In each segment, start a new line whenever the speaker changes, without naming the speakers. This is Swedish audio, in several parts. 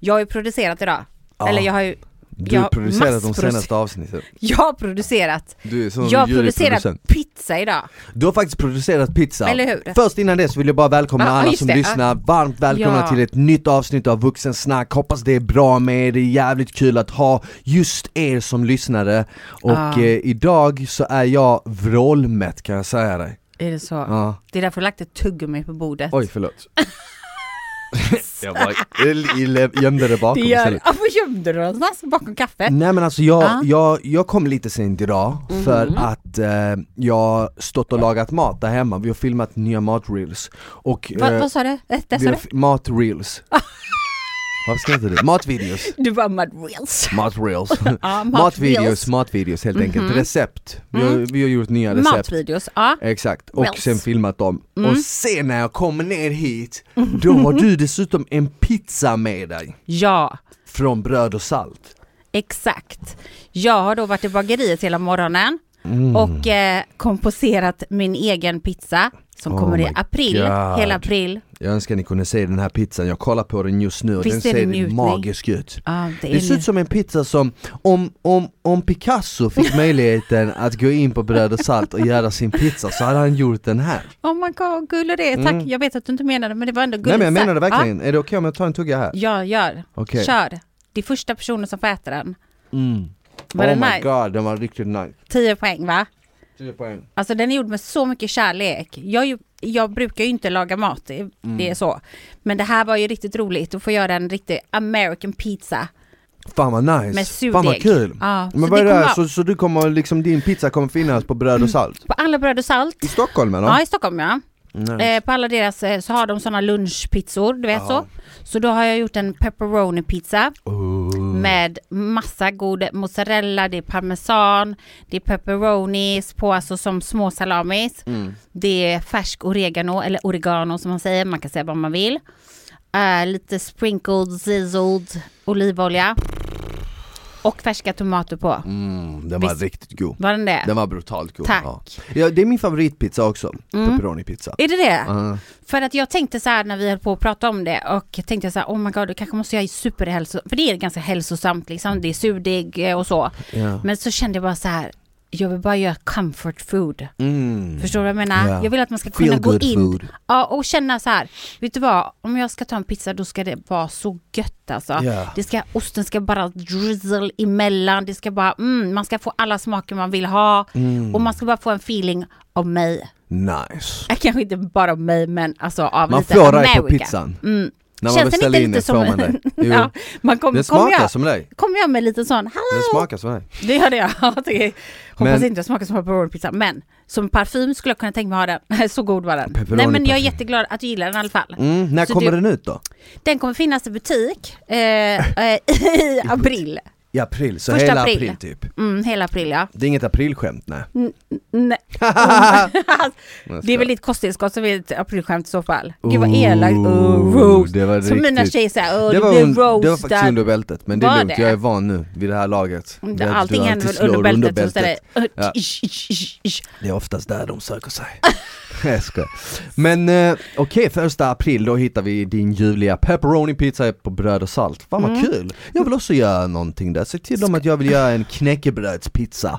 Jag har ju producerat idag.
Ja.
Eller jag har ju,
Du
jag
har
har
producerat de
massproducerat.
senaste avsnitten.
jag har producerat.
Du är sån
Jag har
juryproducent.
producerat pizza idag.
Du har faktiskt producerat pizza.
Eller hur?
Först innan det så vill jag bara välkomna
Ja,
alla
just
som
det. Ah.
lyssnar, varmt välkomna
Ja.
till ett nytt avsnitt av Vuxensnack, hoppas det är bra med er, det är jävligt kul att ha just er som lyssnare Och
Ja.
eh, idag så är jag vrålmätt kan jag säga dig
Är det så?
Ja.
Det är därför jag lagt ett tuggummi på bordet.
Oj förlåt Jag bara jag gille- gömde det
det
bakom
gör...
istället
Ja, Vad gömde du det någonstans? Bakom kaffet?
Nej men alltså jag,
Ja. Mhm.
jag, jag kom lite sent idag för att eh, jag stått och lagat mat där hemma, vi har filmat nya matreels och
Va,
eh,
vad sa du? Äh, där
Vi
sa
har
du?
f- matreels. Varför skrattar du? Matvideos.
Du var mad reels.
Matreels.
Ja,
matvideos, matvideos helt
Mhm.
enkelt. Recept. Vi
Mm.
har, vi har gjort nya recept.
Matvideos, ja.
Exakt, och
Reels.
sen filmat dem.
Mm.
Och sen när jag kommer ner hit, då har du dessutom en pizza med dig.
Ja,
Från bröd och salt.
exakt. Jag har då varit i bageriet hela morgonen
Mm.
och eh, komposerat min egen pizza som
Oh
kommer i
my
april,
God.
hela april.
Jag önskar ni kunde se den här pizzan, jag kollar på den just nu och
Visst är det
den ser
njutning?
magisk ut.
Ja, det är
Det ser ut
nu.
som en pizza som, om, om, om Picasso fick möjligheten att gå in på bröd och salt och göra sin pizza så hade han gjort den här.
Oh my god, gullig det är. Tack, jag vet att du inte menade men det var ändå gulligt
Mm. Nej men jag
sagt.
menar det verkligen, är det okej om jag tar en tugga här?
Ja, jag gör.
Okej.
Kör. Det är första personen som får äta den.
Mm.
Var
oh
den
my
nice?
god, den var riktigt nice.
10 poäng va?
10 poäng.
Alltså den är gjord med så mycket kärlek. Jag, är ju, jag brukar ju inte laga mat, det,
Mm.
det är så. Men det här var ju riktigt roligt att få göra en riktig American pizza.
Fan vad nice,
Med surdeg.
fan vad kul!
Ja,
men
så
vad är
det
det här,
kommer-
så, så du kommer liksom, din pizza kommer finnas på bröd och salt?
På alla bröd och salt.
I Stockholm eller?
Ja, i Stockholm ja.
Nice.
Eh, på alla deras eh, så har de sådana lunchpizzor, du vet så. Så då har jag gjort en pepperoni pizza med massa god mozzarella, det är parmesan, det är pepperonis på alltså som små salamis. Det är färsk oregano eller oregano som man säger, man kan säga vad man vill. Eh, lite sprinkled, sizzled olivolja och färska tomater på.
Mm, den var
visst.
riktigt god.
Var den det?
Den var brutalt god.
Tack. Mm.
Ja. Ja, det är min favoritpizza också, pepperoni-pizza.
Är det det?
Ja.
För att jag tänkte så här när vi höll på att prata om det och tänkte jag så här, oh my god, du kanske måste göra superhälsosamt, för det är ganska hälsosamt liksom, det är surdeg eh, och så.
Ja.
Men så kände jag bara så här, jag vill bara göra comfort food.
Mm.
Förstår du vad jag menar?
Ja.
Jag vill att man ska
Feel
kunna gå
good
in
food.
Ja, och känna så här, vet du vad, om jag ska ta en pizza då ska det vara så gött alltså.
Ja.
Det ska, osten ska bara drizzle emellan, det ska bara, mm, man ska få alla smaker man vill ha
Mm.
och man ska bara få en feeling av mig.
Nice.
Äh, Kanske inte bara av mig men alltså av
Man
lite
får dig
America.
på pizzan.
Mm.
När man
Känns den
beställer
inte
in
lite
den får
som-
man det. Jo,
Ja, man kom,
den
kom,
smakar
jag,
som dig.
kom jag med lite sån,
Den
hallå!
smakar som dig.
Det gör det jag. Jag tycker- Hoppas
Men-
inte det smakar som pepperoni-pizza, men som parfym skulle jag kunna tänka mig ha den. Så god var den. Nej men jag är
Pepperoni-parfym.
jätteglad att du gillar den i alla fall.
Mm, när
Så
kommer
du-
den ut då?
Den kommer finnas i butik eh, eh, i april.
I april, så
Första
hela april.
april.
typ.
Mm, hela april ja.
Det är inget aprilskämt nej.
Nej. det är väl ditt kosttillskott som är ett aprilskämt i så fall. Gud vad elakt. Oh, roast.
det var
Som mina
riktigt-
tjejer säger, oh,
det,
du
var
blir
un- det var faktiskt
roastad.
under bältet, men det är
Var
lugnt,
det?
jag är van nu vid det här laget. Det- du
Allting händer
alltid
väl under
slår
bältet, hos dig.
Ja.
Ish, ish, ish, ish.
Det är oftast där de söker sig. jag skojar. Men eh, okej, första april då hittar vi din ljuvliga pepperoni pizza på bröd och salt. Fan
Mm.
vad kul! Jag vill också göra någonting där, se till dem att jag vill göra en knäckebrödspizza.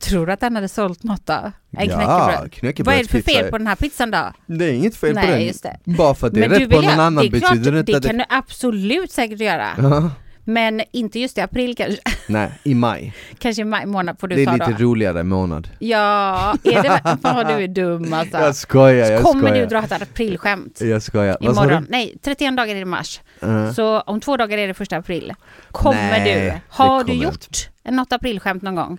Tror du att den hade sålt något då? En
Ja,
knäckebröd. Vad är det för
knäckebrödspizza
fel på den här pizzan då?
Det är inget fel
Nej,
på den,
just det.
bara för att det är
Men du
rätt på
vill
någon
göra-
annan
det är klart,
betyder inte
det
att det...
kan du absolut säkert göra.
Ja.
Men inte just i april kanske.
Nej, i maj.
Kanske i maj månad får du
Det är
ta
lite
då.
roligare månad.
Ja, är det Fan vad du är dum alltså.
Jag skojar, jag
Kommer
skojar.
du dra ett aprilskämt?
Jag skojar. Vad sa
Imorgon,
du?
nej 31 dagar är det mars.
Eh,
Så om två dagar är det första april. Kommer
Nej, det
du? Har du
kommer jag
gjort något aprilskämt någon gång?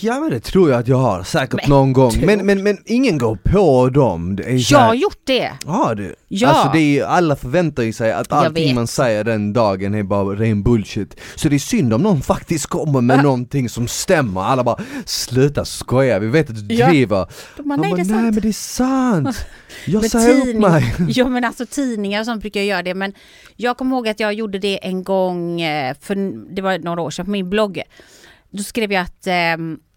Ja men det tror jag att jag har, säkert
Men
någon gång.
tror-
Men, men, men ingen går på dem. Det är så
Jag
här-
har gjort det!
Ja du,
Ja.
alltså det är, ju- alla förväntar ju sig att
Jag
allting
vet.
man säger den dagen är bara ren bullshit Så det är synd om någon faktiskt kommer med någonting som stämmer, alla bara 'Sluta skoja, vi vet att du
Ja.
driver'
De bara,
Man
nej
bara,
det är
nej
sant.
men det är sant! Jag
Med
säger upp
tidning-
mig!
Ja men alltså tidningar och sånt brukar jag göra det men jag kommer ihåg att jag gjorde det en gång, eh, för det var några år sedan, på min blogg. Då ehm, skrev jag att eh,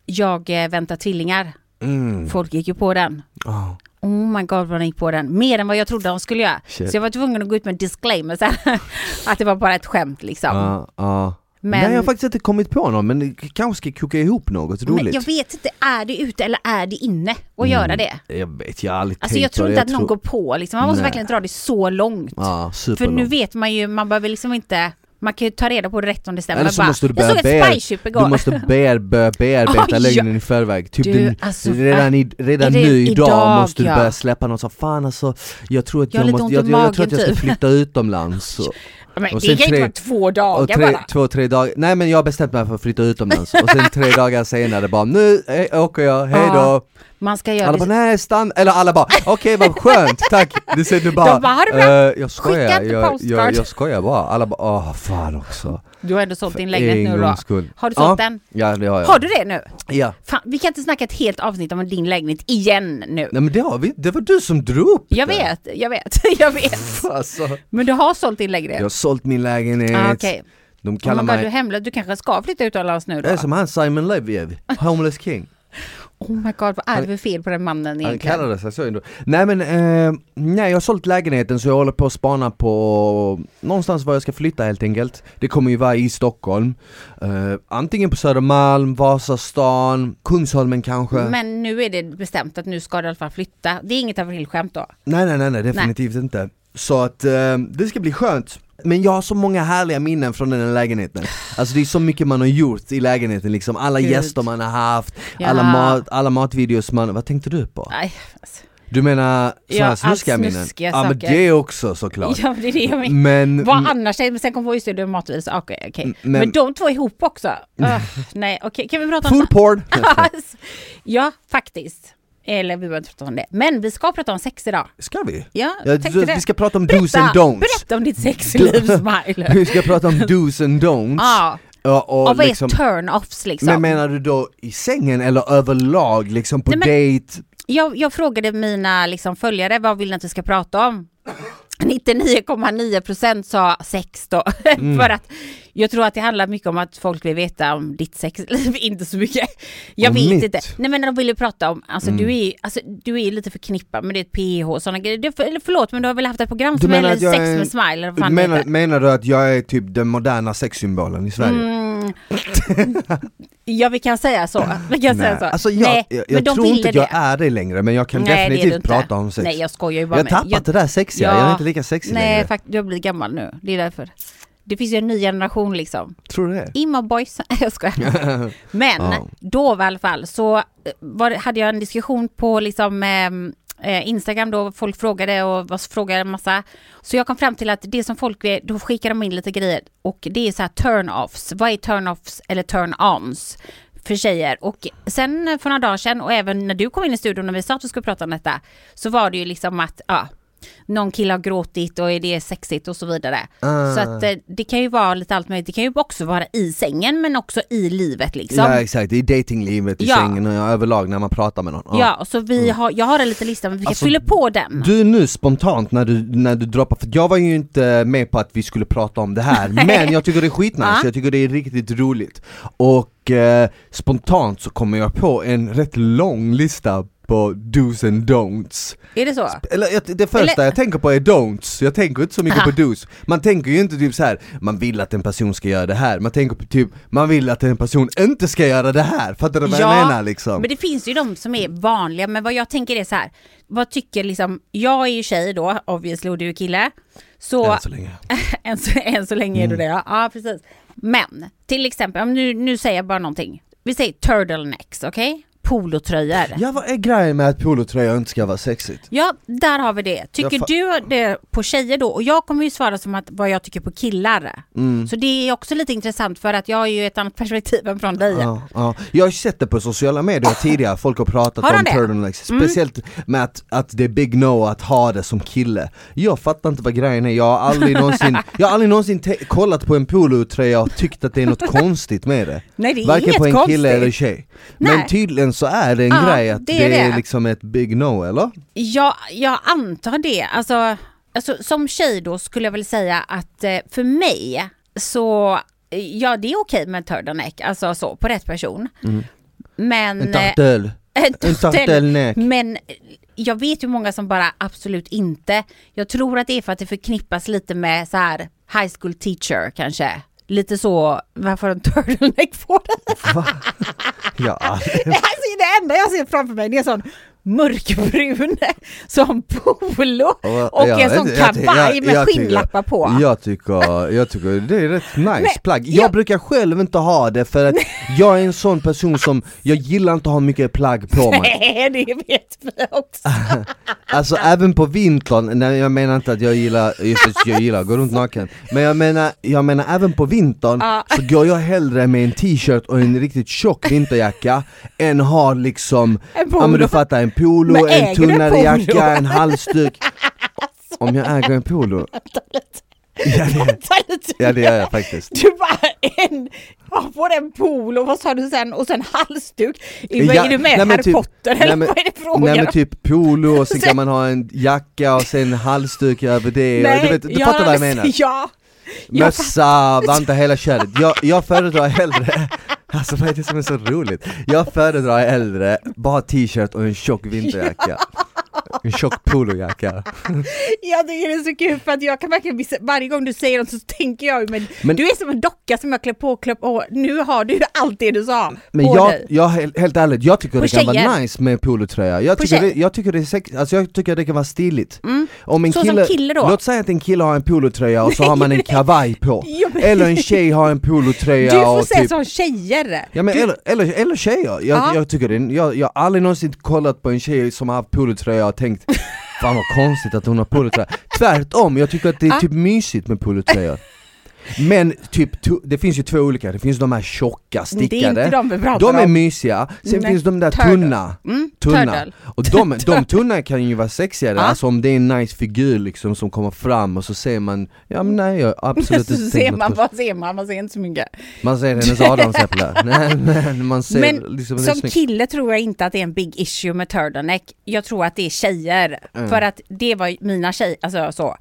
jag eh, väntar tvillingar.
Mm.
Folk gick ju på den.
Ja.
Oh my god vad den gick på den. Mer än vad jag trodde de skulle göra.
Shit.
Så jag var tvungen att gå ut med en disclaimer så här, att det var bara ett skämt liksom.
Ja, ja.
Men-
Nej jag har faktiskt inte kommit på någon men det kanske ska koka ihop något
Men
roligt.
jag vet inte, är det ute eller är det inne att göra det?
Jag vet, jag har aldrig
Alltså
tänkt
jag
på
tror
det.
inte att någon
tror-
går på liksom. Man måste
Nej.
verkligen dra det så långt.
Ja,
För nu
superlångt.
vet man ju, man behöver liksom inte, man kan ju ta reda på det rätt om det stämmer.
Eller så
Bara,
måste du
jag
börja
såg ett
bear,
spyship igår.
du måste bear, bör, bearbeta
Oj, ja.
lögnen i förväg. Typ
Du,
du,
alltså,
redan, i, redan
är det
nu idag,
idag,
måste du
ja.
börja släppa någon så fan alltså, jag tror att
Jag har
jag,
lite
måste,
ont i
jag, jag, jag tror att jag ska
magen, typ."
flytta utomlands. Och,
Ja, men
och
det
sen
kan ju inte
tre-
vara två
och
dagar
tre,
bara.
två, tre dagar, nej men jag har bestämt mig för att flytta utomlands. Och sen tre dagar senare bara, nu eh, åker jag, hejdå.
Ja, Man ska göra
Alla
det.
bara nej stanna, eller alla bara okej vad skönt, tack! Du ser du bara,
De bara, "Ha det bra."
"Eh, jag skojar,
Skicka inte
jag, jag,
postcard.
jag skojar bara, alla bara åh fan också
Du har ändå sålt din lägenhet
En
nu då.
gångs skull.
Har du sålt
ja.
den?
Ja det har jag
Har du det nu?
Ja,
Fan, vi kan inte snacka ett helt avsnitt om din lägenhet igen nu.
nej men det har vi det var du som drog upp
Jag
det.
vet, jag vet, jag vet.
Alltså,
Men du har sålt din lägenhet?
jag har sålt min lägenhet,
Ah, Okej.
de
Om
kallar
man bara, du är
mig,
hemlös, du kanske ska flytta utomlands nu
det är
då?
som han Simon Leviev, homeless king
Oh my god, vad är det för fel på den mannen
Han
egentligen?
kallade sig så ändå. Nej men, eh, nej jag har sålt lägenheten så jag håller på att spana på någonstans var jag ska flytta helt enkelt. Det kommer ju vara i Stockholm. Eh, antingen på Södermalm, Vasastan, Kungsholmen kanske.
Men nu är det bestämt att nu ska du i alla fall flytta. Det är inget aprilskämt då?
Nej nej nej, nej definitivt inte. Så att eh, det ska bli skönt. Men jag har så många härliga minnen från den här lägenheten. Alltså det är så mycket man har gjort i lägenheten liksom. Alla
Gud.
gäster man har haft,
Ja.
alla, mat, alla matvideos man, vad tänkte du på?
Nej, alltså.
Du menar
Ja,
sådana här
allt
snuskiga minnen?
snuskiga
Ja men
saker.
det också såklart.
ja, men det är det jag menar.
Men,
Vad annars? Men sen kom på just det, du är matvis. Okej, okej.
Mm, men- Mm.
Men... de två ihop också? Öh, nej, okej. Kan vi prata om
food porn!
Alltså, ja, faktiskt. Eller vi behöver inte prata om det. Men vi ska prata om sex idag.
Ska vi?
Ja,
Ja,
jag tänkte
så,
det.
vi ska prata om do's and don'ts.
berätta om ditt sexliv, Smile.
Vi ska prata om do's and don'ts.
ja,
Ja, och,
och vad
liksom,
är turn-offs liksom?
men menar du då i sängen eller överlag liksom på
Nej, men-
dejt?
jag, jag frågade mina liksom, följare, vad vill ni att vi ska prata om? 99,9% sa sex då.
Mm.
För att jag tror att det handlar mycket om att folk vill veta om ditt sexliv, inte så mycket. Jag
Om
vet
mitt? Mm.
inte. Nej men de vill ju prata om, alltså, du är, ju- alltså du är ju lite förknippad med ditt PH och sådana grejer. Du, för, eller förlåt men du har väl haft ett program som
menar
heter
att jag
Sex
är-
med Smile eller vad fan det
menar,
heter.
menar du att jag är typ den moderna sexsymbolen i Sverige?
Mm. ja vi kan säga så. Vi kan säga
Nej.
så.
Alltså jag,
Nej,
jag,
men
jag
de
tror
ville
inte att
det.
jag är det längre men jag kan
Nej, det är du
definitivt
inte.
prata om sex.
Nej jag skojar ju
jag
bara
har
med.
tappat det där sexiga, jag är
Ja.
inte lika sexig
Nej,
längre.
fakt- jag blir gammal nu. Det är därför. Det finns ju en ny generation liksom.
Tror du det?
Imma boys. jag skojar. Men
Ja.
då var i alla fall så eh, var, det- hade jag en diskussion på liksom ehm, eh, Instagram då folk frågade och vad frågade en massa. Så jag kom fram till att det som folk vill, då skickar de in lite grejer och det är så här turn-offs. Vad är turn-offs eller turn-ons? för tjejer och sen eh, för några dagar sedan och även när du kom in i studion och vi sa att vi skulle prata om detta så var det ju liksom att ja, någon kille har gråtit och är det sexigt och så vidare.
Ah.
Så att eh, det kan ju vara lite allt möjligt. Det kan ju också vara i sängen men också i livet liksom.
Ja exakt, i datinglivet, i
Ja.
sängen och överlag när man pratar med någon. Ja. Mm.
Ja, och så vi har, jag har en liten lista men vi kan
Alltså,
fylla på den.
Du nu spontant när du, när du droppar, för jag var ju inte med på att vi skulle prata om det här men jag tycker det är skitnice,
Ja.
jag tycker det är riktigt roligt Och eh, spontant så kommer jag på en rätt lång lista på do's and don'ts
är det så?
Eller jag- det första
Eller-
jag tänker på är don'ts, jag tänker inte så mycket
Aha.
på do's Man tänker ju inte typ så här. man vill att en person ska göra det här, man tänker på typ, man vill att en person inte ska göra det här, fattar du vad jag
Ja,
menar liksom?
Men det finns ju de som är vanliga, men vad jag tänker är så här. Vad tycker liksom, jag är ju tjej då, obviously, och du är kille. Så
Än så Mm. länge.
än så, än så länge är du det, ja. ja precis. Men till exempel, om nu, nu säger jag bara någonting. Vi säger turtlenecks, okej? Polotröjor. Ja.
Ja vad är grejen med att polotröja inte ska vara sexigt?
där har vi det. Tycker
Typ. Jag fa-
du det på tjejer då? Och jag kommer ju svara som att vad jag tycker på killar.
Mm.
Så det är också lite intressant för att jag har ju ett annat perspektiv än från dig.
Ja, ja. Jag har sett det på sociala medier tidigare, folk har pratat
Har de
om
det? Mm.
turtlenecks, speciellt med att, att det är big no att ha det som kille Jag fattar inte vad grejen är, jag har aldrig någonsin, jag har aldrig någonsin te- kollat på en polotröja och tyckt att det är något konstigt med det
Nej det är
Varken
inget
på en
konstigt.
kille eller tjej Men
Nej.
tydligen så är det en
Ja,
grej att det
det
är,
är det.
liksom ett big no eller?
Ja, jag antar det. Alltså, alltså, som tjej då skulle jag väl säga att eh, för mig så, eh, ja det är okej med en turtleneck, alltså så,
Mm.
på rätt person. Men...
En tartel,
eh, en
en
turtle-
tartelneck
Men eh, jag vet ju många som bara absolut inte. Jag tror att det är för att det förknippas lite med så här high school teacher kanske. Lite så, varför har de turtleneck på den?
Va?
Ah,
Ja,
Alltså, det enda jag ser framför mig det är en sån mörkbrun som polo
Och-
och
ja,
en sån
jag- jag-
kavaj
jag-
med
jag tycker-
skinnlappar på.
Jag tycker, jag tycker det är rätt nice
Men-
plagg. Jag
ja.
brukar själv inte ha det för att jag är en sån person som, jag gillar inte att ha mycket plagg på mig.
Nej, det vet vi också.
Alltså även på vintern, nej jag menar inte att jag gillar, just det, jag gillar att gå runt naken. Men jag menar, jag menar även på vintern
Ja.
så går jag hellre med en t-shirt och en riktigt tjock vinterjacka än ha liksom,
En
ja men
polo.
du fattar en polo,
Men
en
äger du
tunnare
polo? Alltså.
jacka, en halsduk. Om jag äger en polo? Ja det,
Ta lite-
ja, det gör jag faktiskt.
Du bara en, ja, på den polo, vad sa du sen, och sen halsduk. Är,
Ja,
är du med
nej, men
Harry
typ-
Potter
nej,
eller
men-
vad är det frågan
Nej
om?
men typ polo och sen kan
Sen-
man ha en jacka och sen halsduk över det och,
Nej,
du, vet, du
jag
fattar vad jag
hade-
menar?
Ja, jag
Mössa, vanta hela köret. Jag, jag föredrar hellre, alltså vad är det som är så roligt? Jag föredrar hellre bara t-shirt och en tjock vinterjacka. En tjock polojacka.
Jag tycker det är så kul för att jag kan verkligen missa, varje gång du säger något så tänker jag ju, men,
Men-
du är som en docka som jag klär på och klär på, nu har du ju allt det du sa
Men
på
jag,
dig.
jag, helt helt ärligt, jag tycker
På
det kan vara
tjejer.
nice med polotröja. Jag
På
tycker, det,
tjejer.
jag tycker det är sex, alltså jag tycker det kan vara stiligt.
Mm.
Om en
Så som kille då?
Låt säga att en kille har en polotröja och så har man en kavaj på.
Jo, men-
Eller en tjej har en
Du
polotröja
får
och
säga
typ
som tjejer!
Ja men eller, eller, eller tjejer, jag,
Ja.
jag tycker det, är- jag, jag har aldrig någonsin kollat på en tjej som har haft polotröja och tänkt Fan vad konstigt att hon har polotröja Tvärtom, jag tycker att det är
Ja.
typ mysigt med polotröjor Men typ, to- det finns ju två olika, det finns de här tjocka
det är
stickade
inte de vi pratar
de är
om.
mysiga, sen
Nej,
finns de där
turtle.
tunna,
Mm,
tunna.
turtle.
Och de, de tunna kan ju vara sexigare,
Ja.
alltså om det är en nice figur liksom som kommer fram och så ser man, ja men nej jag har absolut
Så
inte
ser
tänkt något
man,
på-
vad ser man? Man ser inte så mycket.
Man ser hennes adamsäpple, nej men man ser
Men
liksom det är
Som
snyggt.
kille tror jag inte att det är en big issue med turtleneck. Jag tror att det är tjejer.
Mm.
För att det var mina tjejer, alltså så.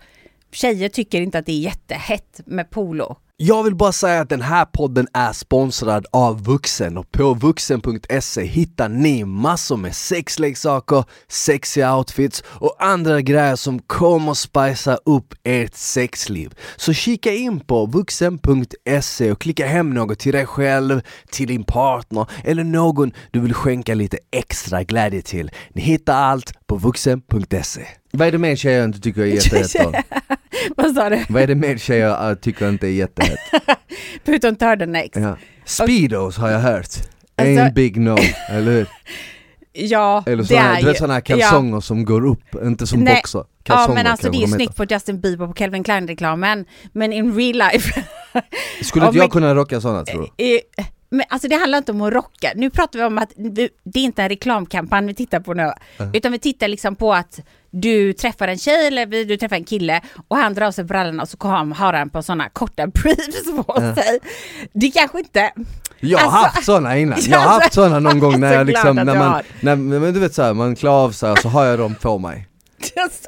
Tjejer tycker inte att det är jättehett med polo.
Jag vill bara säga att den här podden är sponsrad av Vuxen och på vuxen.se hittar ni massor med sexleksaker, sexiga outfits och andra grejer som kommer spicea upp ert sexliv. Så kika in på vuxen.se E och klicka hem något till dig själv, till din partner eller någon du vill skänka lite extra glädje till. Ni hittar allt på vuxen.se. Vad är det mer tjejer jag inte tycker är jättehett
Vad sa du?
Vad är det mer tjejer jag tycker inte är jättehett?
Förutom turtlenecks.
Ja. Speedos har jag hört, en
Alltså-
big no, eller hur?
Ja,
Eller
det
sådana,
är
du vet
ju.
sådana här
Ja.
kalsonger som går upp, inte som
Nej.
boxar
Ja
Kalsonger
men alltså
kanske
det är
de
ju
heter.
snyggt på Justin Bieber på Calvin Klein reklamen. Men in real life.
Skulle inte
Ja,
jag
men-
kunna rocka sådana tror du?
eh, men alltså det handlar inte om att rocka. Nu pratar vi om att du, det är inte en reklamkampanj vi tittar på nu. Utan vi tittar liksom på att du träffar en tjej eller vi- du träffar en kille och han drar av sig brallorna och så kom, har han på sådana korta briefs på sig. Det kanske inte...
Jag har
Alltså-
haft sådana innan, jag har
Alltså-
haft sådana någon gång när
Så
jag liksom,
glad att
när
jag
man,
har.
när, men du vet såhär, man klär av sig och så har jag dem på mig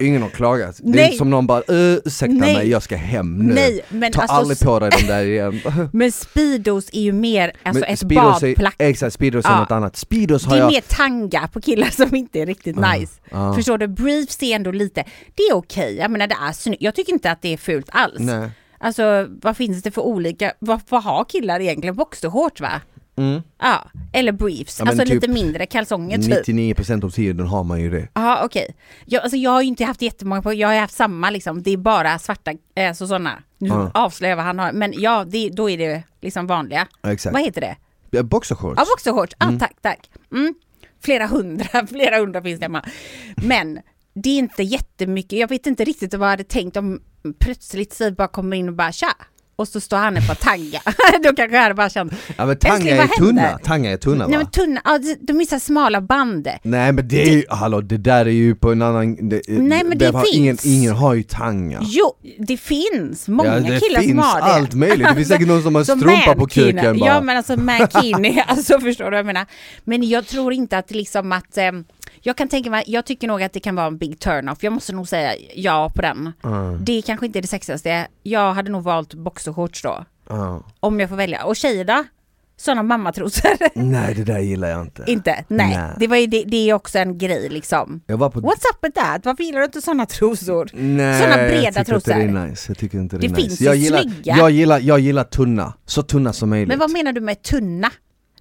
Ingen har klagat, det är
Nej.
inte som någon bara "Eh, ursäkta
Nej.
mig jag ska hem nu
Nej, men
Ta
alltså-
aldrig på dig de där igen
Men Speedos är ju mer alltså
Men
ett
Speedos är-
badplack.
Exakt, speedos är
Ja.
något annat, speedos har
Det är
jag
mer tanga på killar som inte är riktigt nice.
ja.
Förstår du? Briefs är ändå lite, det är okej, jag menar det är snyggt. Jag tycker inte att det är fult alls.
Nej.
Alltså vad finns det för olika, vad, vad har killar egentligen? Boxershorts va?
Mm.
Ja, eller briefs,
Ja, men
alltså
typ
lite mindre kalsonger typ.
99% av tiden har man ju det
Ja okej. Jag, alltså, jag har ju inte haft jättemånga på, jag har ju haft samma liksom, det är bara svarta, eh, så sådana. Nu
Ja.
avslöjar jag vad han har, men ja, det, då är det liksom vanliga.
Exakt.
Vad heter det?
Ja, Boxershorts?
Ja, boxershorts. Ah, tack, tack. Mm. Flera hundra, flera hundra finns det hemma. Men det är inte jättemycket. Jag vet inte riktigt vad jag hade tänkt om plötsligt Siv bara kommer in och bara tja. Och så står han ett par tanga. Då kanske jag hade bara känt.
Ja men
Älskling,
tanga är
vad händer?
tunna, tanga är tunna va?
Nej men tunna, ja, de är så här smala band.
Nej men det är ju, hallå det där är ju på en annan, det,
Nej, men
där
det
har
finns.
ingen, ingen har ju tanga
Jo, det finns många
det
killar som
finns
har det.
allt möjligt, det finns säkert någon som har
Som
strumpa på
mankini.
kuken bara
Alltså, Ja men alltså mankini, alltså förstår du vad jag menar? Men jag tror inte att liksom att, eh, jag kan tänka mig, jag tycker nog att det kan vara en big turn-off, jag måste nog säga ja på den.
Mm.
Det kanske inte är det sexigaste, jag hade nog valt boxershorts då.
Ja.
Om jag får välja. Och tjejer då? sådana mammatrosor.
Nej det där gillar jag inte.
inte? Nej.
Nej.
Det, var ju, det, det är också en grej liksom.
Jag var på...
What's up with that? Varför gillar du inte sådana trosor?
Nej,
Såna breda
jag tycker inte det
trosor.
är nice. Jag tycker inte det är
Det
nice.
finns ju
jag gillar,
snygga.
jag, gillar, jag gillar tunna, så tunna som möjligt.
Men vad menar du med tunna?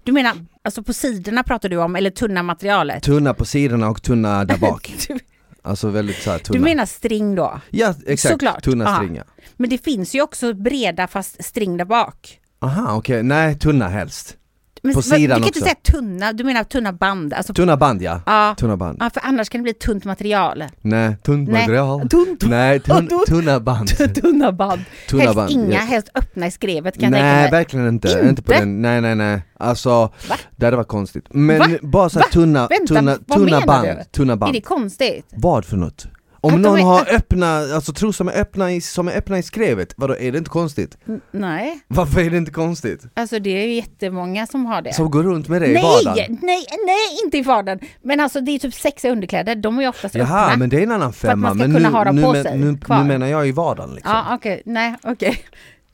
Du menar, alltså på sidorna pratar du om, eller tunna materialet?
Tunna på sidorna och tunna där bak.
Du,
Alltså väldigt såhär tunna.
du menar string då?
Ja exakt,
Såklart.
tunna
Ja.
stringar.
Men det finns ju också breda fast string där bak.
Aha okej, nej tunna helst.
Men,
På
vad-
sidan
Du kan
också.
inte säga tunna, du menar tunna band? Alltså,
Tunna band ja.
ja.
Tunna band.
ja, för annars kan det bli tunt material.
Nej, tunt
Nej.
material.
Tunt,
Nej, tun,
tunt-
tunna band.
tunna band.
Tunna
helst
band,
inga,
ja.
helst öppna i skrevet kan jag
Nej
tänka mig.
verkligen inte,
Inte?
inte, på den, nej nej nej Alltså,
Va?
det hade varit konstigt Men
Va?
bara såhär
Va?
tunna,
Vänta,
tunna,
vad
tunna
menar
band,
du?
tunna
Är
band
det konstigt?
Vad för något?
Att
Om
de
någon
är-
har öppna, alltså trosor som är öppna i, som är öppna i skrevet, vadå är det inte konstigt?
N- Nej,
Varför är det inte konstigt?
alltså det är ju jättemånga som har det.
Som går runt med det i
Nej,
vardagen?
nej, nej, inte i vardagen. Men alltså det är typ sexiga underkläder, de är ju oftast
Jaha,
öppna.
men det är en annan
att man
femma,
ska
men
kunna
nu,
ha dem
nu,
på
men-
sig,
nu,
kvar.
nu menar jag i vardagen liksom
Ja, okej, nej, okej.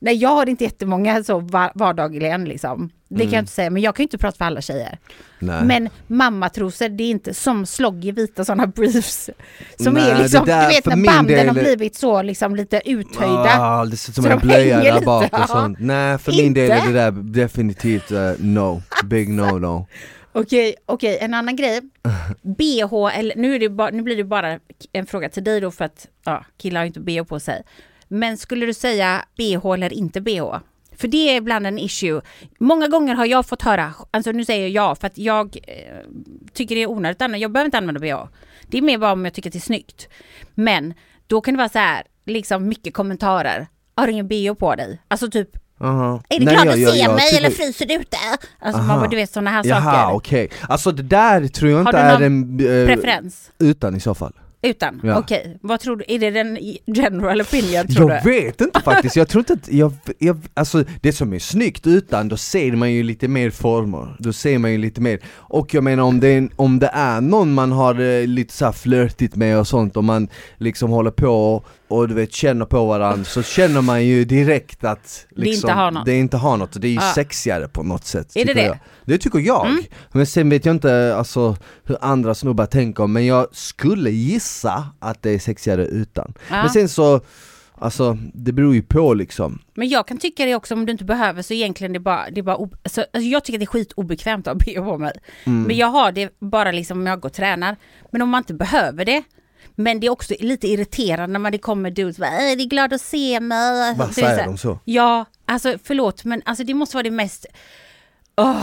Nej, jag har inte jättemånga så va- vardagligen liksom. Det kan jag inte säga, men jag kan ju inte prata för alla tjejer.
Mm. Nej.
Men mammatrosor, det är inte som slogg i vita sådana briefs. Som
Nej,
är liksom,
det där-
du vet
för
när
min
banden
del-
har blivit så liksom lite uthöjda.
Ah, det ser ut som
Så
en
de
blöja
hänger
där
lite,
bak
ja.
och sånt. Nej, för min
Inte?
del är det där definitivt eh, no, big no no.
Okej, okej, en annan grej. BH, eller nu, är det bara, nu blir det bara en fråga till dig då för att ja, killar har ju inte BH på sig. Men skulle du säga BH eller inte BH? För det är ibland en issue. Många gånger har jag fått höra, alltså nu säger jag för att jag eh, tycker det är onödigt, att använda- jag behöver inte använda BH. Det är mer bara om jag tycker att det är snyggt. Men då kan det vara så här, liksom mycket kommentarer. Har du ingen BH på dig? Alltså typ,
Aha.
är du
Nej,
glad
jag-
att
jag-
se
jag
mig
tycker-
eller fryser du ute? Alltså man
Aha.
bara, du vet sådana här
Jaha
saker.
okej, alltså det där tror jag
Har
inte
du
är
någon
en... eh,
Preferens?
utan i så fall.
Utan?
Ja.
Okej, vad tror du? Är det den general opinion tror
jag
du?
vet inte faktiskt, jag tror inte att, jag, jag, alltså det som är snyggt utan, då ser man ju lite mer former, då ser man ju lite mer Och jag menar om det är, en- om det är någon man har eh, lite så här flörtigt med och sånt och man liksom håller på och, och du vet känner på varandra så känner man ju direkt att
Det inte
liksom,
har något.
Det inte har något, och det är ju
Ja.
sexigare på något sätt
Är det Mm.
tycker
det?
Jag. Det tycker jag, men sen vet jag inte alltså, hur andra snubbar tänker men jag skulle gissa att det är sexigare utan
Ja.
Men sen så, alltså det beror ju på liksom
Men jag kan tycka det också om du inte behöver så egentligen det är bara, det är bara ob- alltså, alltså, jag tycker det är skitobekvämt att ha bh på mig.
Mm.
Men jag har det bara liksom om jag går och tränar. Men om man inte behöver det. Men det är också lite irriterande när man det kommer dudes och bara, "Äh, det är glad att se mig. Alltså,
Vad
det är
säger
så här-
de så?
Ja, alltså förlåt men alltså det måste vara det mest Oh,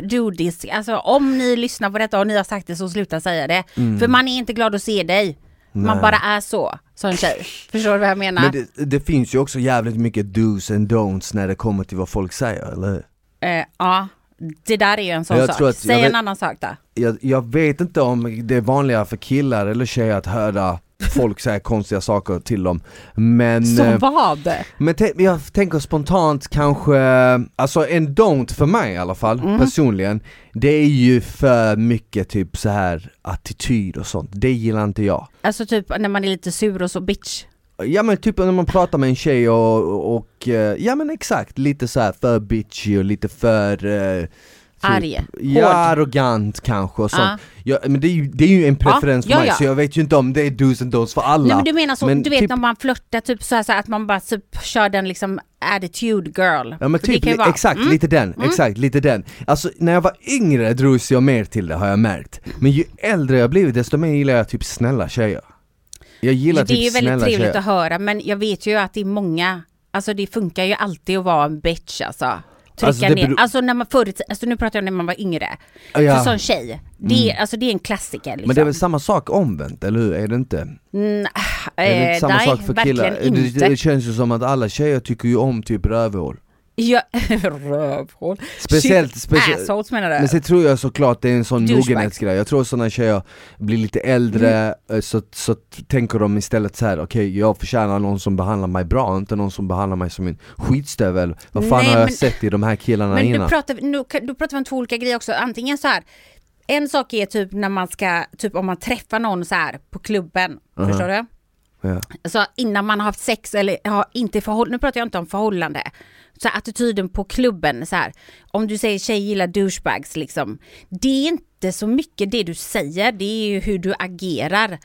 dudis. Alltså om ni lyssnar på detta och ni har sagt det så sluta säga det.
Mm.
För man är inte glad att se dig. Man bara är så, som tjej. Förstår du vad jag menar?
Men det, det finns ju också jävligt mycket do's and don'ts när det kommer till vad folk säger, eller hur?
Eh, ja, det där är ju en sån
Jag
sak.
tror att-
Säg
jag vet-
en annan sak då.
jag, jag vet inte om det är vanligare för killar eller tjejer att höra folk säga konstiga saker till dem Men eh,
Som vad?
Men te- jag tänker spontant kanske, alltså en don't för mig i alla fall, personligen Det är ju för mycket typ så här attityd och sånt, det gillar inte jag
Alltså typ när man är lite sur och så bitch.
Ja men typ när man pratar med en tjej och, och eh, ja men exakt, lite så här för bitchy och lite för eh, typ,
Arg.
Ja,
Hård.
arrogant kanske och sånt
Ja.
ja, Men det är, ju, det är ju en preferens
ja,
för mig
ja.
så jag vet ju inte om det är do's and don'ts för alla
Nej men du menar så,
Men
du vet
typ-
när man flörtar typ så här, så här, att man bara typ kör den liksom attitude girl.
Ja men
För det
typ,
kan ju
li-
vara, Mm.
exakt, lite den, exakt, lite den. Alltså när jag var yngre drogs jag mer till det har jag märkt. Men ju äldre jag blivit desto mer gillar jag typ snälla tjejer. Jag gillar
det är ju
typ
väldigt
snälla
trevligt
tjejer.
att höra men jag vet ju att det är många, alltså det funkar ju alltid att vara en bitch alltså. Trycka
Alltså, det
ner,
beror-
alltså när man förr, i ti- alltså nu pratar jag om när man var yngre.
Ja. Mm.
För sån tjej, det är, alltså det är en klassiker liksom.
Men det är väl samma sak omvänt, eller hur? Är det inte?
Mm,
Är det
eh,
inte samma
nej,
sak för killar?
verkligen
Det,
inte.
det känns ju som att alla tjejer tycker ju om typ rövhål.
Ja, rövhål.
Speciellt-
Shit,
speciellt-
Assholes menar du?
Men sen tror jag såklart det är en sån
Douchebags.
mogenhetsgrej, jag tror sådana tjejer blir lite äldre
Mm.
eh, så, så t- tänker de istället så här: okej jag förtjänar någon som behandlar mig bra, inte någon som behandlar mig som en skitstövel Vad fan
Nej,
har jag
men-
sett i de här killarna
Men nu
innan?
pratar, vi- nu, kan- då pratar vi om två olika grejer också. Antingen så här, en sak är typ när man ska, typ om man träffar någon så här på klubben, förstår du?
Ja.
Så innan man har haft sex eller har inte förhållande, nu pratar jag inte om förhållande. Så här, attityden på klubben så här, om du säger tjej gillar douchebags liksom. Det är inte så mycket det du säger, det är ju hur du agerar.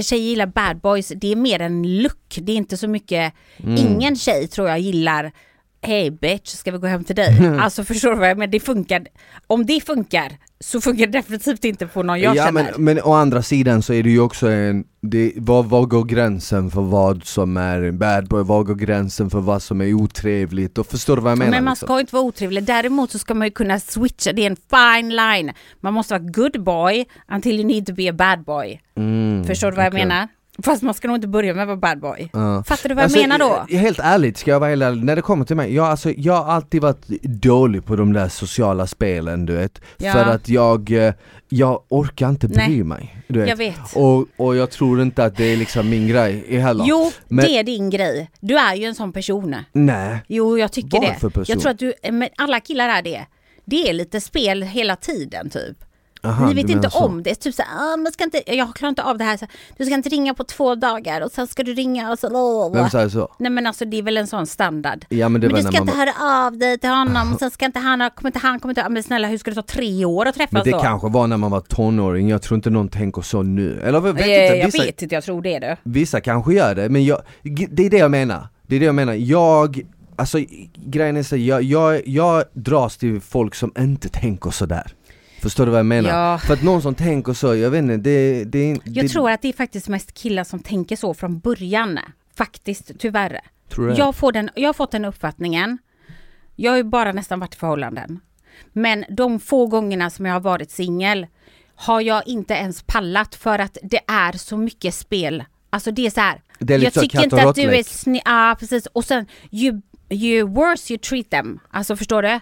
Tjej gillar bad boys, det är mer en look, det är inte så mycket,
Mm.
ingen tjej tror jag gillar Hey bitch, ska vi gå hem till dig? Alltså förstår du vad jag menar? Det funkar, om det funkar så funkar det definitivt inte på någon jag
ja
känner.
men, men å andra sidan så är det ju också en, det, vad, vad går gränsen för vad som är en bad boy, vad går gränsen för vad som är otrevligt och förstår du vad jag menar?
Men man
liksom?
ska ju inte vara otrevlig. Däremot så ska man ju kunna switcha. Det är en fine line. Man måste vara good boy until you need to be a bad boy.
Mm,
Förstår du vad jag
okej.
menar? Fast man ska nog inte börja med att vara bad boy.
Ja.
Fattar du vad jag
Alltså,
menar då?
eh, Helt ärligt, ska jag vara helt ärlig, när det kommer till mig, jag, alltså, jag har alltid varit dålig på de där sociala spelen du vet
Ja.
För att jag, eh, jag orkar inte bry
Nej.
mig du vet.
Jag vet.
Och, och jag tror inte att det är liksom min grej heller
Jo,
men-
det är din grej. Du är ju en sån person.
Nej,
Jo, jag tycker
Vad
det.
för person?
Jag tror att du, eh, men alla killar är det. Det är lite spel hela tiden typ.
Aha,
Ni
du
vet
menar
inte
så.
om det. Typ såhär, ah, man ska inte, jag klarar inte av det här. Så, du ska inte ringa på två dagar och sen ska du ringa och så.
vem säger så?
Nej men alltså det är väl en sån standard.
Ja men det
Men
var
du
när
ska
man
inte höra av dig till honom, och sen ska inte han, ha- kommer inte han, kommer inte, men snälla hur ska det ta tre år att träffas
Men det
då?
kanske var när man var tonåring, jag tror inte någon tänker så nu. Eller jag vet
Eh,
inte,
jag
vissa,
vet inte, jag tror det är det.
vissa kanske gör det, men jag, g- det är det jag menar. Det är det jag menar, jag, alltså grejen är så, här, jag, jag, jag dras till folk som inte tänker sådär. Förstår du vad jag menar?
Ja.
För att någon som tänker så, jag vet inte, det, det är
Jag
det,
tror att det är faktiskt mest killar som tänker så från början. Faktiskt, tyvärr.
Tror du det?
Jag, får den, jag har fått den uppfattningen. Jag har ju bara nästan varit i förhållanden. Men de få gångerna som jag har varit singel har jag inte ens pallat för att det är så mycket spel. Alltså det är så här.
Det är lite
jag
så
tycker
katt och
inte
liksom.
att du är
råttlek.
snygg. Ja, ah, precis. Och sen ju, ju worse you treat them. Alltså förstår du?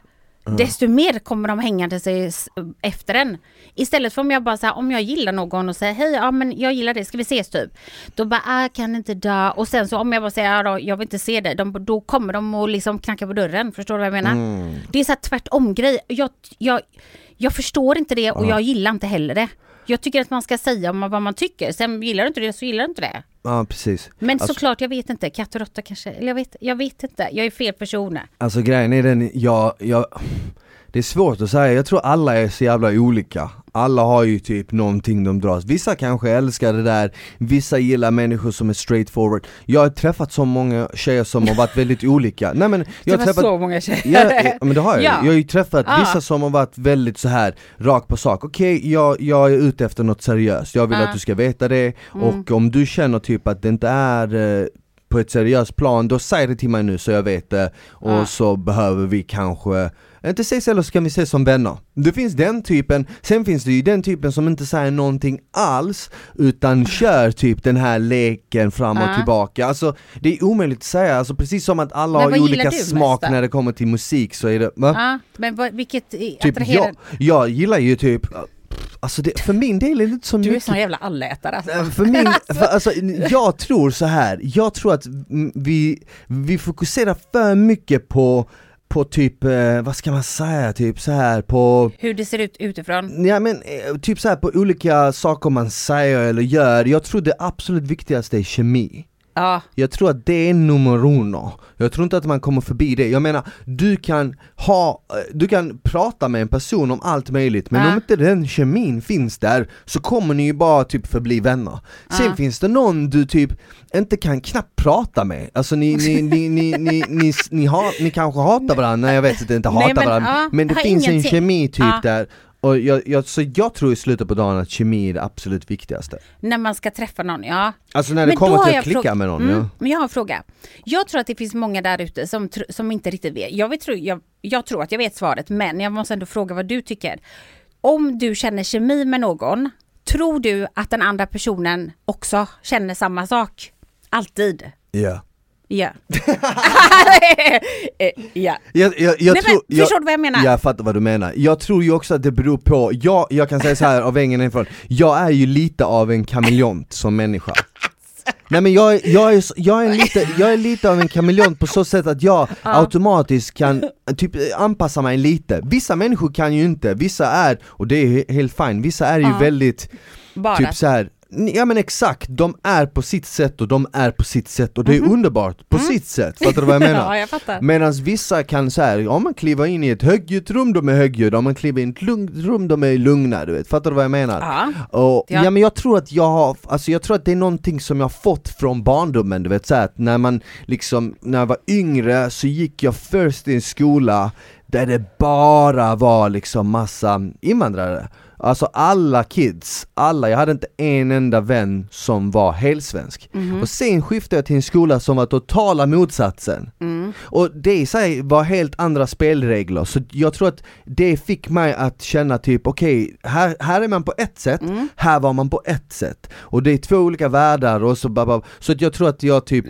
Desto mer kommer de hängande sig s- efter en. Istället för om jag bara säger om jag gillar någon och säger hej, ja men jag gillar dig, ska vi ses typ? Då bara, ah, kan inte dö. Och sen så om jag bara säger, ja då, jag vill inte se dig, de, då kommer de och liksom knacka på dörren. Förstår du vad jag menar? Det är så här tvärtom grej. Jag, jag, jag förstår inte det och jag gillar inte heller det. Jag tycker att man ska säga om man- vad man tycker. Sen gillar du inte det så gillar du inte det.
ja precis.
Men
Alltså-
såklart, jag vet inte. Katt och råtta kanske. Eller jag vet, jag vet inte. Jag är fel person.
Alltså grejen är den, jag, jag, det är svårt att säga, jag tror alla är så jävla olika Alla har ju typ någonting de dras, vissa kanske älskar det där, vissa gillar människor som är straightforward Jag har träffat så många tjejer som har varit väldigt olika, nej men jag har träffat
många tjejer.
Ja, eh, ja, men det har jag ju.
Ja.
Jag har ju träffat
Ja.
vissa som har varit väldigt så här rakt på sak. Okej, jag, jag är ute efter något seriöst. Jag vill
Ja. Mm.
att du ska veta det. Och om du känner typ att det inte är eh, på ett seriöst plan, då säg det till mig nu så jag vet det. Och
Ja.
så behöver vi kanske inte ses eller så kan vi ses som vänner. Det finns den typen, sen finns det ju den typen som inte säger någonting alls utan kör typ den här leken fram och
Mm. Ja.
tillbaka. Alltså det är omöjligt att säga, alltså, precis som att alla
Men
har
vad
ju
gillar
olika
du mest
smak
då?
när det kommer till musik så är det, va?
Ja, men vad, vilket eh,
typ
attraherar...
jag, jag gillar ju typ, alltså det, för min del är det inte så
Du är en
mycket
sån jävla allätare alltså.
Eh, för min, för, alltså, jag tror så här. jag tror att mm, vi, vi fokuserar för mycket på, på typ, eh, vad ska man säga, typ så här på
Hur det ser ut utifrån.
Ja men eh, typ så här på olika saker man säger eller gör, jag tror det absolut viktigaste är kemi
Ja,
jag tror att det är nummer uno. Jag tror inte att man kommer förbi det. Jag menar, du kan ha, eh, du kan prata med en person om allt möjligt men
Ja.
om inte den kemin finns där så kommer ni ju bara typ förbli vänner. Sen
Ja.
finns det någon du typ inte kan knappt prata med. Alltså ni, ni, ni, ni, ni, ni, ni, har, ni kanske hatar varandra, nej jag vet att inte
Nej,
hatar
men,
varandra
ja,
men det
har
finns en
ingenting-
kemi typ
Ja.
där. Och jag, jag, så jag tror i slutet på dagen att kemi är det absolut viktigaste.
när man ska träffa någon, ja.
Alltså när det
Men då
kommer
har
till
jag
att klicka
fråga-
med någon.
Mm,
Ja.
Men jag har en fråga. Jag tror att det finns många där ute som, tr- som inte riktigt vet. Jag, vet tro, jag, jag tror att jag vet svaret, men jag måste ändå fråga vad du tycker. Om du känner kemi med någon, tror du att den andra personen också känner samma sak? Alltid?
Ja.
Ja. Eh, ja.
Jag, jag, jag
Nej,
tror,
men,
jag,
förstår du vad jag menar?
jag fattar vad du menar. Jag tror ju också att det beror på, jag, jag kan säga så här av egen erfarenhet, jag är ju lite av en kameleont som människa. Nej men jag, är- jag, är, så- jag, är lite, jag är lite av en kameleont på så sätt att jag automatiskt kan eh, typ eh, anpassa mig lite. Vissa människor kan ju inte, vissa är, och det är he- helt fine, vissa är ju
Ja.
väldigt
Bara.
typ så här Ja men exakt, de är på sitt sätt och de är på sitt sätt och det är
Mhm.
underbart
Mm.
på sitt sätt, fattar du vad jag menar?
ja, jag fattar.
Medan vissa kan så här, om man kliver in i ett högljutt rum, de är högljudda, om man kliver in i ett lugnt rum, de är lugna, du vet, fattar du vad jag menar?
Ja.
Och,
Ja.
ja. men jag tror att jag har, alltså jag tror att det är någonting som jag har fått från barndomen, du vet så här, att när man liksom, när jag var yngre så gick jag först i en skola där det bara var liksom massa invandrare Alltså alla kids, alla, jag hade inte en enda vän som var helsvensk. Och sen skiftade jag till en skola som var totala motsatsen. Och det i sig var helt andra spelregler, så jag tror att det fick mig att känna typ okej, här, här är man på ett sätt,
Mm.
här var man på ett sätt. Och det är två olika världar och så bara, så att jag tror att jag typ,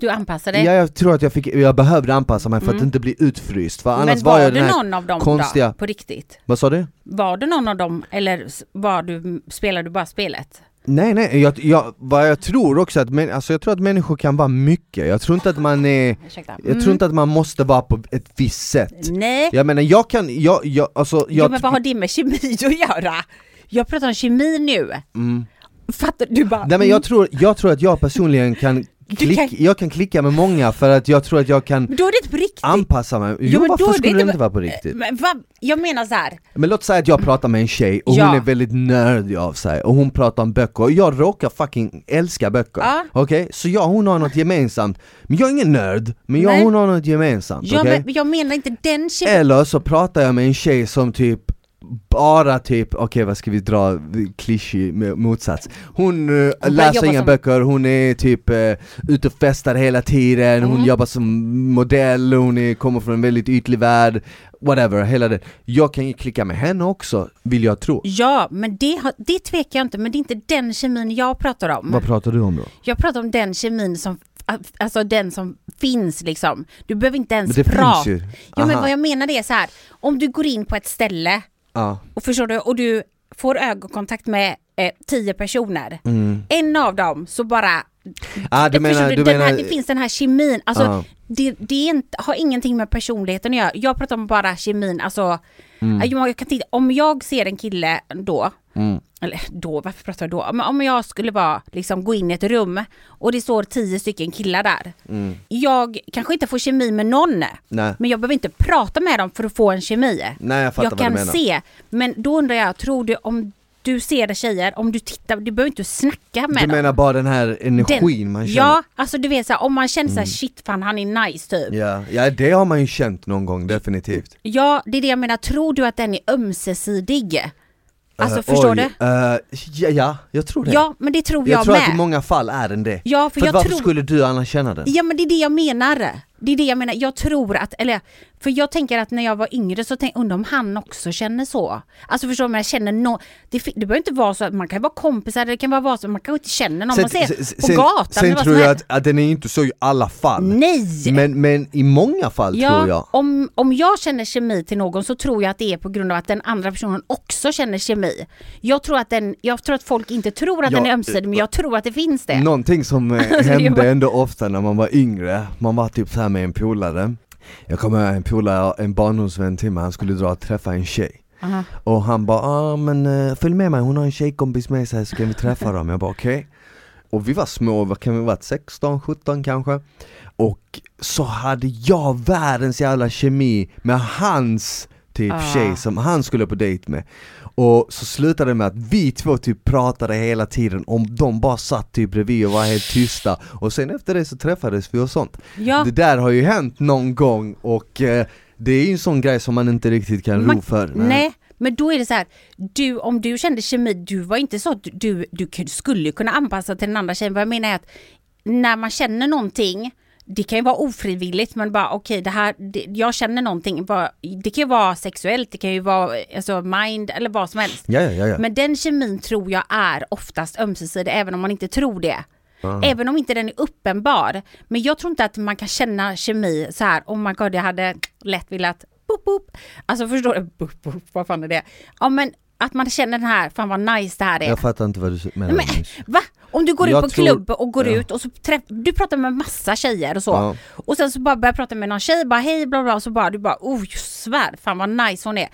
Du anpassar dig.
ja, jag tror att jag, fick, jag behövde anpassa mig för att inte bli utfryst, för annars
Mm. Men var,
jag
du
den här
någon av dem
konstiga-
då, på riktigt?
Vad sa du?
Var du någon av dem eller s- var du, spelade du bara spelet?
Nej nej, jag, jag, vad jag tror också att, men, alltså jag tror att människor kan vara mycket, jag tror inte att man är,
Ursäkta. Mm.
jag tror inte att man måste vara på ett visst sätt
Nej,
Jag menar jag kan, jag, jag alltså,
jo,
jag,
men vad har det med kemi att göra? Jag pratar om kemi nu. Fattar du? bara?
Mm. Nej men jag tror, jag tror att jag personligen kan, klick,
kan-
jag kan klicka med många för att jag tror att jag kan
Men Mm. Då är det inte på riktigt.
anpassa mig. Jo,
men då är
varför
det
skulle det
inte-
inte vara på riktigt?
Men vad, jag menar så här.
Men låt säga att jag pratar med en tjej och
Ja.
hon är väldigt nördig av sig och hon pratar om böcker och jag råkar fucking älska böcker.
Ja.
Okej? Så jag och hon har något gemensamt, men jag är ingen nörd, men jag och
Nej.
hon har något gemensamt.
Jag,
okej?
men, jag menar inte den kemin.
Eller så pratar jag med en tjej som typ bara typ, okej vad ska vi dra, klyschig mo- motsats Hon eh,
börjar
läser
jobba
inga
som-
böcker, hon är typ eh, ute och festar hela tiden,
Mm.
hon jobbar som modell, hon är, kommer från en väldigt ytlig värld Whatever, hela det Jag kan ju klicka med henne också, vill jag tro
Ja, men det, har- det tvekar jag inte, men det är inte den kemin jag pratar om.
Vad pratar du om då?
Jag pratar om den kemin som, alltså den som finns liksom. Du behöver inte ens
Men det finns
prata.
ju.
Jo men
Aha.
vad jag menar det är så här, om du går in på ett ställe
Ja,
och förstår du, och du får ögonkontakt med eh, tio personer. En av dem så bara,
Mm. ah, du menar,
förstår
du
den här,
menar
det finns den här kemin, alltså
Ja.
det, det är inte, har ingenting med personligheten att göra. Jag pratar om bara kemin, alltså
Mm.
eh, jag, jag kan titta, om jag ser en kille då, eller då, varför pratar jag då? Men om jag skulle bara liksom gå in i ett rum och det står tio stycken killar där.
Mm.
Jag kanske inte får kemi med någon,
Nej.
men jag behöver inte prata med dem för att få en kemi.
Nej jag fattar
jag
vad
kan
du menar
se, men då undrar jag, tror du om du ser tjejer, om du tittar, du behöver inte snacka med
Du
dem.
menar bara den här
Den-
energin man känner? Mm.
Ja, alltså du vet så här, om man känner så här, shit fan han är nice typ.
Ja, ja det har man ju känt någon gång definitivt
Ja, det är det jag menar, tror du att den är ömsesidig? Alltså förstår
Oj,
du?
eh, ja, ja, jag tror det.
Ja, men det tror jag,
jag tror
med.
att i många fall är den det.
Ja, för
att
jag
varför
tror-
skulle du annars känna den?
Ja men det är det jag menar. Det är det jag menar, jag tror att, eller för jag tänker att när jag var yngre så tänkte undrar om han också känner så. Alltså förstår du, men jag känner no, det, fi- det behöver inte vara så att man kan vara kompisar, det kan vara vad som, man kanske inte känner någon, man ser på gatan.
sen
eller vad
tror
som
jag
helst.
att, att den är inte så i alla fall.
Nej!
Men, men i många fall tror jag.
Om, om jag känner kemi till någon så tror jag att det är på grund av att den andra personen också känner kemi. Jag tror att, den, jag tror att folk inte tror att
Ja, eh,
den är ömsesidig men jag tror att det finns Alltså, det.
Någonting som eh,
var-
hände ändå ofta när man var yngre, man var typ så här med en polare Jag kommer ihåg en polare, en barndomsvän till mig, han skulle dra och träffa en tjej
Aha.
Och han bara, ah, men eh, följ med mig, hon har en tjejkompis med sig så kan vi träffa dem, jag bara okej Och vi var små, vad kan vi ha varit, 16, 17 kanske? Och så hade jag världens jävla kemi med hans typ
Ah.
tjej som han skulle på dejt med Och så slutade det med att vi två typ pratade hela tiden om de bara satt typ bredvid och var helt tysta Och sen efter det så träffades vi och sånt
Ja.
Det där har ju hänt någon gång och eh, det är ju en sån grej som man inte riktigt kan
Man-
ro för
Nej, men då är det så här, du, om du kände kemi, du var inte så att du, du k- skulle kunna anpassa till den andra tjejen. Vad jag menar är att när man känner någonting, det kan ju vara ofrivilligt men bara okej det här, det, jag känner någonting, bara, det kan ju vara sexuellt, det kan ju vara alltså, mind eller vad som helst.
Ja, ja, ja, ja.
Men den kemin tror jag är oftast ömsesidig även om man inte tror det.
Ah.
Även om inte den är uppenbar. Men jag tror inte att man kan känna kemi så här, oh my god jag hade lätt velat, boop, boop. Alltså förstår du, boop, boop, vad fan är det? Ja men att man känner den här, fan vad nice det här är.
Jag fattar inte vad du menar
Men,
Magnus.
va? Om du går ut
Jag
på
tror-
klubb och går
ja.
ut och så träff, du pratar med massa tjejer och så.
Ja.
Och sen så bara börjar jag prata med någon tjej, bara hej bla bla, och så bara du bara oh jag svär, fan vad nice hon är.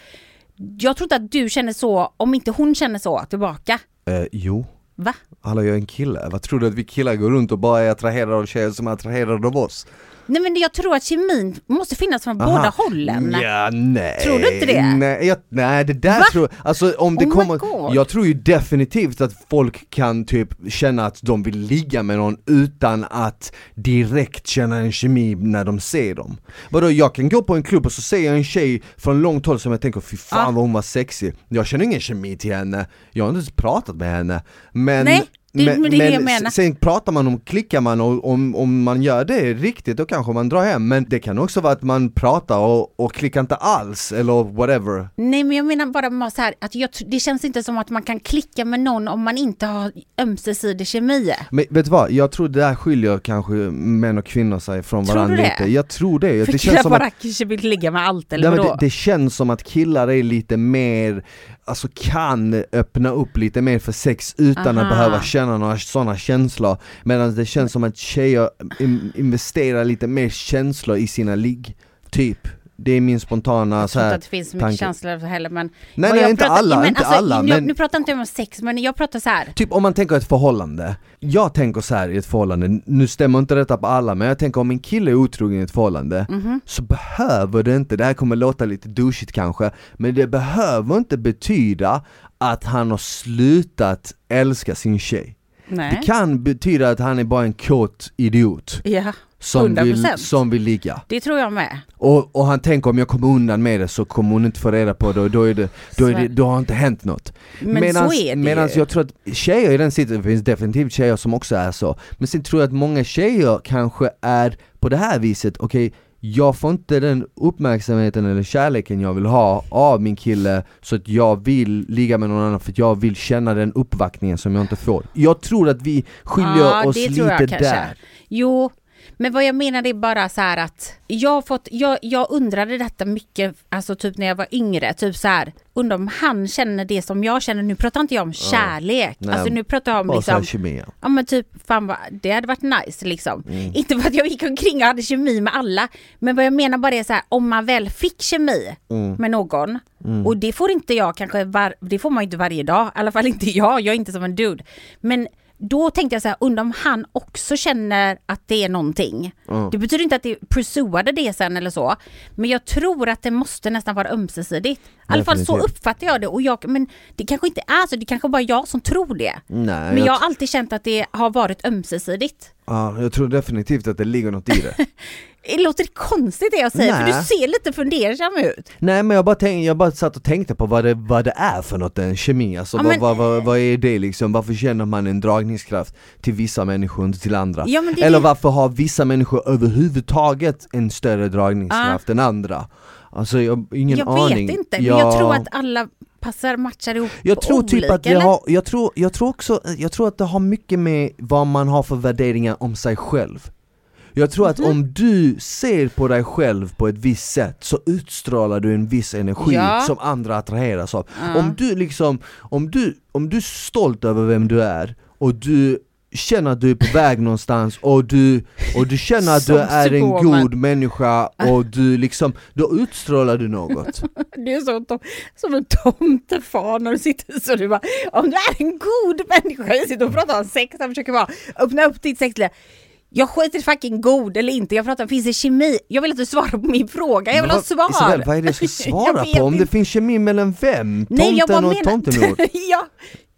Jag tror inte att du känner så, om inte hon känner så tillbaka.
Eh, jo,
Va?
hallå jag är en kille, vad tror du att vi killar går runt och bara är attraherade av tjejer som är attraherade av oss?
Nej men jag tror att kemin måste finnas från
Aha.
båda hållen.
Ja, nej.
Tror du inte det?
Nej, jag, nej det där
Va?
tror jag, alltså om det
Oh my
kommer,
God.
jag tror ju definitivt att folk kan typ känna att de vill ligga med någon utan att direkt känna en kemi när de ser dem. Vadå, jag kan gå på en klubb och så ser jag en tjej från långt håll som jag tänker fy fan
Ja.
vad hon var sexig, jag känner ingen kemi till henne, jag har inte ens pratat med henne. Men
Nej, det- men det är det jag menar.
s- Sen pratar man om, klickar man och om, om man gör det riktigt då kanske man drar hem men det kan också vara att man pratar och, och klickar inte alls eller whatever
Nej men jag menar bara med så här, att jag, tr- det känns inte som att man kan klicka med någon om man inte har ömsesidig kemi.
Men vet du vad, jag tror det där skiljer kanske män och kvinnor sig från
Tror
varandra
du det?
lite Jag tror det,
För
det
killar
känns som
bara
att
kanske vill ligga med allt eller
Nej, men
vadå?
det, det känns som att killar är lite mer, alltså kan öppna upp lite mer för sex utan att
Aha.
behöva känna några sådana känslor Medan det känns som att tjejer in, investerar lite mer känslor i sina ligg, typ Det är min spontana
jag
så
tror inte
här.
att det finns så
tanke.
mycket känslor för heller men Vad
Nej nej
jag
inte
pratar-
alla,
men
inte
alltså,
alla
nu,
men
nu pratar inte jag om sex men jag pratar så här.
Typ om man tänker ett förhållande, jag tänker så här i ett förhållande, nu stämmer inte detta på alla men jag tänker om en kille är otrogen i ett förhållande så behöver det inte, det här kommer låta lite douchigt kanske, men det behöver inte betyda att han har slutat älska sin tjej.
Nej.
Det kan betyda att han är bara en kåt idiot
Ja,
som vill,
100%.
som vill ligga.
det tror jag med.
Och, och han tänker om jag kommer undan med det så kommer hon inte få reda på det och då, är det, då, är det,
Svär.
då har inte hänt något.
Men
Medans-
så är det
medans
ju.
jag tror att tjejer i den sidan, det finns definitivt tjejer som också är så, men sen tror jag att många tjejer kanske är på det här viset, okej jag får inte den uppmärksamheten eller kärleken jag vill ha av min kille så att jag vill ligga med någon annan för att jag vill känna den uppvaktningen som jag inte får. Jag tror att vi skiljer
Ja,
oss
det
lite
tror jag kanske.
där.
Jo, men vad jag menar är bara så här att jag, har fått, jag, jag undrade detta mycket, alltså typ när jag var yngre, typ så här, undrar om han känner det som jag känner, nu pratar inte jag om kärlek,
Nej,
alltså nu pratar jag om
Bara så här
liksom,
kemi, ja.
ja men typ fan vad, det hade varit nice liksom. Inte för att jag gick omkring och hade kemi med alla, men vad jag menar bara är så här, om man väl fick kemi med någon, och det får inte jag kanske, var, det får man ju inte varje dag, i alla fall inte jag, jag är inte som en dude. Men då tänkte jag så här, undrar om han också känner att det är någonting. Det betyder inte att det pursuade det sen eller så, men jag tror att det måste nästan vara ömsesidigt. I alla fall så
Definitivt.
uppfattar jag det, och jag, men det kanske inte är så, det kanske bara jag som tror det.
Nej,
Men
jag
jag har alltid känt att det har varit ömsesidigt.
Ja, jag tror definitivt att det ligger något i det.
Det Låter det konstigt det jag säger?
Nej.
För du ser lite fundersam ut.
Nej men jag bara, tänk, jag bara satt och tänkte på vad det, vad det är för något, en kemi, alltså
Ja,
vad,
men-
vad, vad, vad är det liksom, varför känner man en dragningskraft till vissa människor och inte till andra?
Ja, men det är
Eller
det.
varför har vissa människor överhuvudtaget en större dragningskraft än andra? Alltså jag har ingen
jag
aning
vet inte, men jag tror att alla passar, matchar ihop
jag tror
olika,
typ att det
eller?
har, jag tror, jag tror också, jag tror att det har mycket med vad man har för värderingar om sig själv jag tror
Mhm.
att om du ser på dig själv på ett visst sätt så utstrålar du en viss energi
Ja.
som andra attraheras av.
Ja.
Om du liksom, om du, om du är stolt över vem du är och du känner att du är på väg någonstans och du, och du känner att du
Som
är en
Superwoman.
god människa och du liksom, då utstrålar du något.
Du är så tom, som en tomtefar när du sitter så du bara, om du är en god människa, jag sitter och pratar om sex, jag försöker bara öppna upp ditt sexliv. Jag skiter i fucking god eller inte, jag pratar om finns det kemi? Jag vill att du svarar på min fråga, jag vill
Men
ha
vad-
svar!
Isabel, vad är det jag ska svara
Jag vet
på? Om det
inte.
finns kemi mellan vem?
Nej, jag
Tomten
bara
och
menar-
tomtemor?
ja,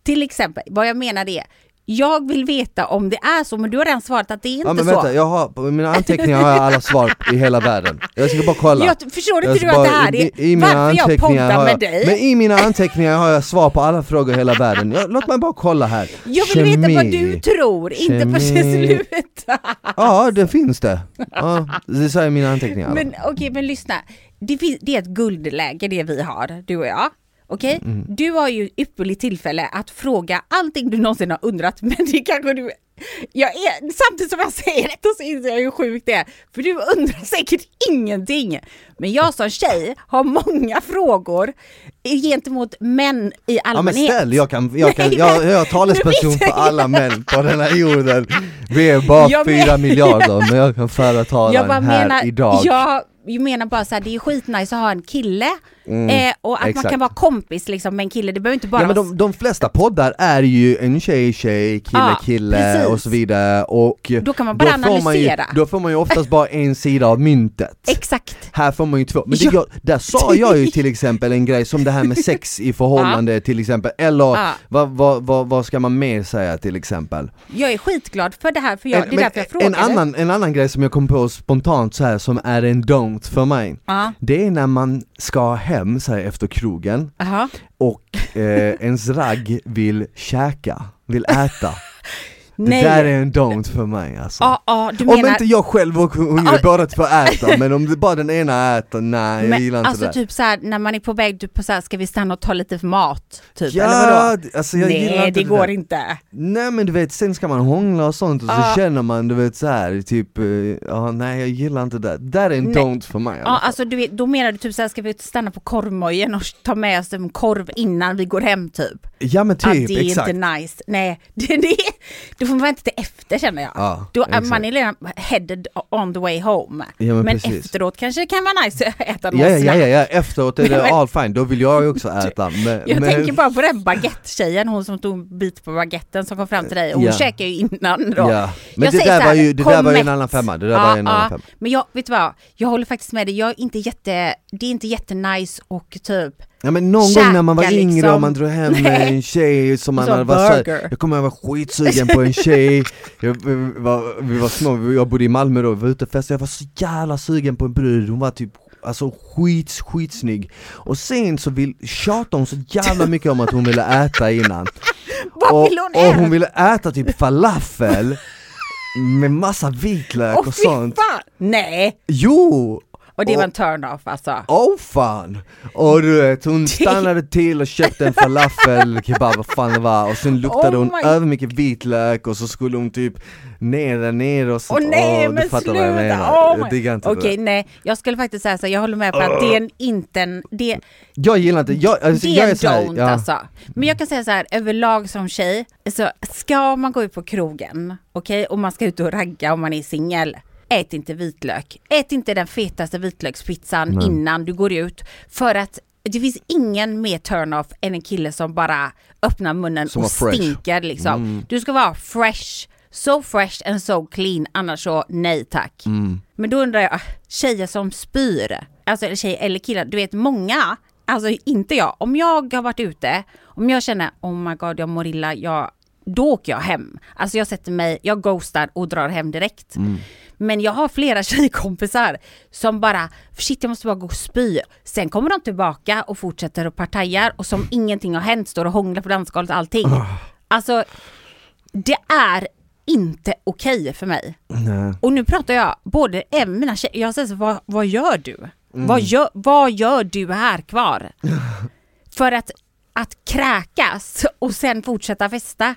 till exempel, vad jag menar är, jag vill veta om det är så, men du har redan svarat att det är inte
Ja men
så.
vänta, jag har, på mina anteckningar har jag alla svar i hela världen. Jag ska bara kolla.
Jag, förstår
Jag
inte
ska
du att
bara-
det här är
i- i mina
varför jag
anteckningar
poddar
har
med
jag-
dig?
Men i mina anteckningar har jag svar på alla frågor i hela världen. Jag, låt mig bara kolla här.
jag vill veta vad du
Kemi.
tror, inte
Kemi.
precis sluta.
Ja, det finns det. Ja, det säger mina anteckningar.
Men okej, men lyssna. Det, finns, det är ett guldläge det vi har, du och jag. Okej?
Mm.
Du har ju ypperligt tillfälle att fråga allting du någonsin har undrat, men det kanske du... Jag är, samtidigt som jag säger detta så inser jag hur sjukt det är, för du undrar säkert ingenting. Men jag som tjej har många frågor gentemot män i
Ja men
allmänhet.
ställ, jag kan, jag kan,
Nej,
jag,
men-
jag är talesperson
du
för
vet-
alla män på den här jorden. Vi är bara
Jag
fyra
men-
miljarder, men jag kan föra talan
jag bara
här
menar,
idag.
jag jag menar bara så här, det är skitnice att ha en kille eh, och att man
Mm. exakt.
kan vara kompis liksom med en kille, det behöver inte bara
Ja men
vara
de, de flesta poddar är ju en tjej, tjej, kille,
Ja,
kille
precis.
och så vidare och
Då kan man bara
får man ju,
analysera.
Då får man ju oftast bara en sida av myntet
Exakt.
Här får man ju två, men det,
Ja.
jag, där sa jag ju till exempel en grej som det här med sex i förhållande till exempel, eller
Ja.
vad, vad, vad, vad ska man mer säga till exempel?
Jag är skitglad för det här, för jag, det är
men
därför jag frågade.
en, annan, en annan grej som jag kom på spontant så här som är en don't för mig,
Ja.
det är när man ska hem så här, efter krogen
Jaha.
och eh, ens ragg vill käka, vill äta.
Nej.
Det där är en don't för mig alltså.
Ja, ja, du
om
menar...
inte jag själv och hon
Ja.
båda två äter, men om det bara den ena äter, nej jag gillar inte
alltså
det.
typ så här, när man är på väg, du på så här, ska vi stanna och ta lite mat? Typ,
ja,
eller vadå?
alltså jag gillar
Nej,
inte
det går
där.
inte.
Nej men du vet, sen ska man hångla och sånt och så
Ja.
känner man du vet så här typ, eh, ja nej jag gillar inte det. Där är en
Nej.
don't för mig. i alla
Ja,
fall.
alltså du vet, då menar du typ så här, ska vi stanna på korvmojen och ta med oss en korv innan vi går hem typ?
ja men
Ja,
typ,
det är
exakt.
inte nice. Nej, det, det, då får man vänta till efter känner jag.
Ja,
då är
exakt.
man är redan headed on the way home.
Ja, men
men
precis.
efteråt kanske det kan vara nice att äta någon
Ja, ja, ja,
snack.
ja, ja, efteråt är det
Men-
all fine, då vill jag ju också äta. Men,
Jag
men,
tänker bara på den baguette-tjejen, hon som tog en bit på baguetten som kom fram till dig. Hon
Ja.
käkade ju innan då.
Ja. Men
Jag
det
säger
där
så här,
var ju, det där
kom
var ju en
mätt.
annan femma, det där
Ja,
var ju en annan
ja.
femma.
Men jag, vet du vad, jag håller faktiskt med dig, jag är inte jätte, det är inte jättenice och typ
Ja men någon gång när man var
Käka,
yngre och
liksom.
man drog hem
Nej.
en tjej som man
Så
hade varit såhär,
burger.
jag kommer ihåg jag var skitsugen på en tjej, jag, vi, var, vi var små, jag bodde i Malmö då, vi var ute och festade, jag var så jävla sugen på en brud, hon var typ Alltså skits, skitsnygg. Och sen så vill, tjatade hon så jävla mycket om att hon ville äta innan.
Vad
och,
vill hon
och
äta?
hon ville äta typ falafel med massa vitlök
Åh
och
fy
sånt.
fan! Nej!
Jo!
Och det
Och-
var en turn-off alltså.
Åh oh, fan! Och du vet, hon stannade till och köpte en falafel, kebab, vad fan det var och sen luktade
Oh
hon
my-
över mycket vitlök och så skulle hon typ ner där ner och så
Åh nej
Åh, du
men
fattar
sluta!
vad jag menar,
Oh
jag diggar inte
Okej
det där.
nej, jag skulle faktiskt säga så här, jag håller med på att det är en, inte en, det,
Jag gillar inte, jag, alltså,
det
jag
är
är
en
så här,
don't
ja.
alltså. Men jag kan säga så här, överlag som tjej, så ska man gå ut på krogen, okej, och man ska ut och ragga om man är singel, ät inte vitlök. Ät inte den fetaste vitlökspizzan
Nej.
innan du går ut, för att det finns ingen mer turn-off än en kille som bara öppnar munnen
Som
och
var fresh.
stinker liksom. Du ska vara fresh, so fresh and so clean, annars så nej tack. Men då undrar jag, ah, tjejer som spyr, alltså eller tjejer eller killar, du vet många, alltså inte jag, om jag har varit ute, om jag känner oh my god jag mår illa, jag, då åker jag hem. Alltså jag sätter mig, jag ghostar och drar hem direkt. Men jag har flera tjejkompisar som bara, shit jag måste bara gå och spy. Sen kommer de tillbaka och fortsätter och partajar och som ingenting har hänt står och hånglar på dansgolvet och allting. Alltså, det är inte okej för mig.
Nej.
Och nu pratar jag både, även mina tjejer, jag säger så, vad, vad gör du?
Mm.
Vad, gör, vad gör du här kvar? För att, att kräkas och sen fortsätta festa,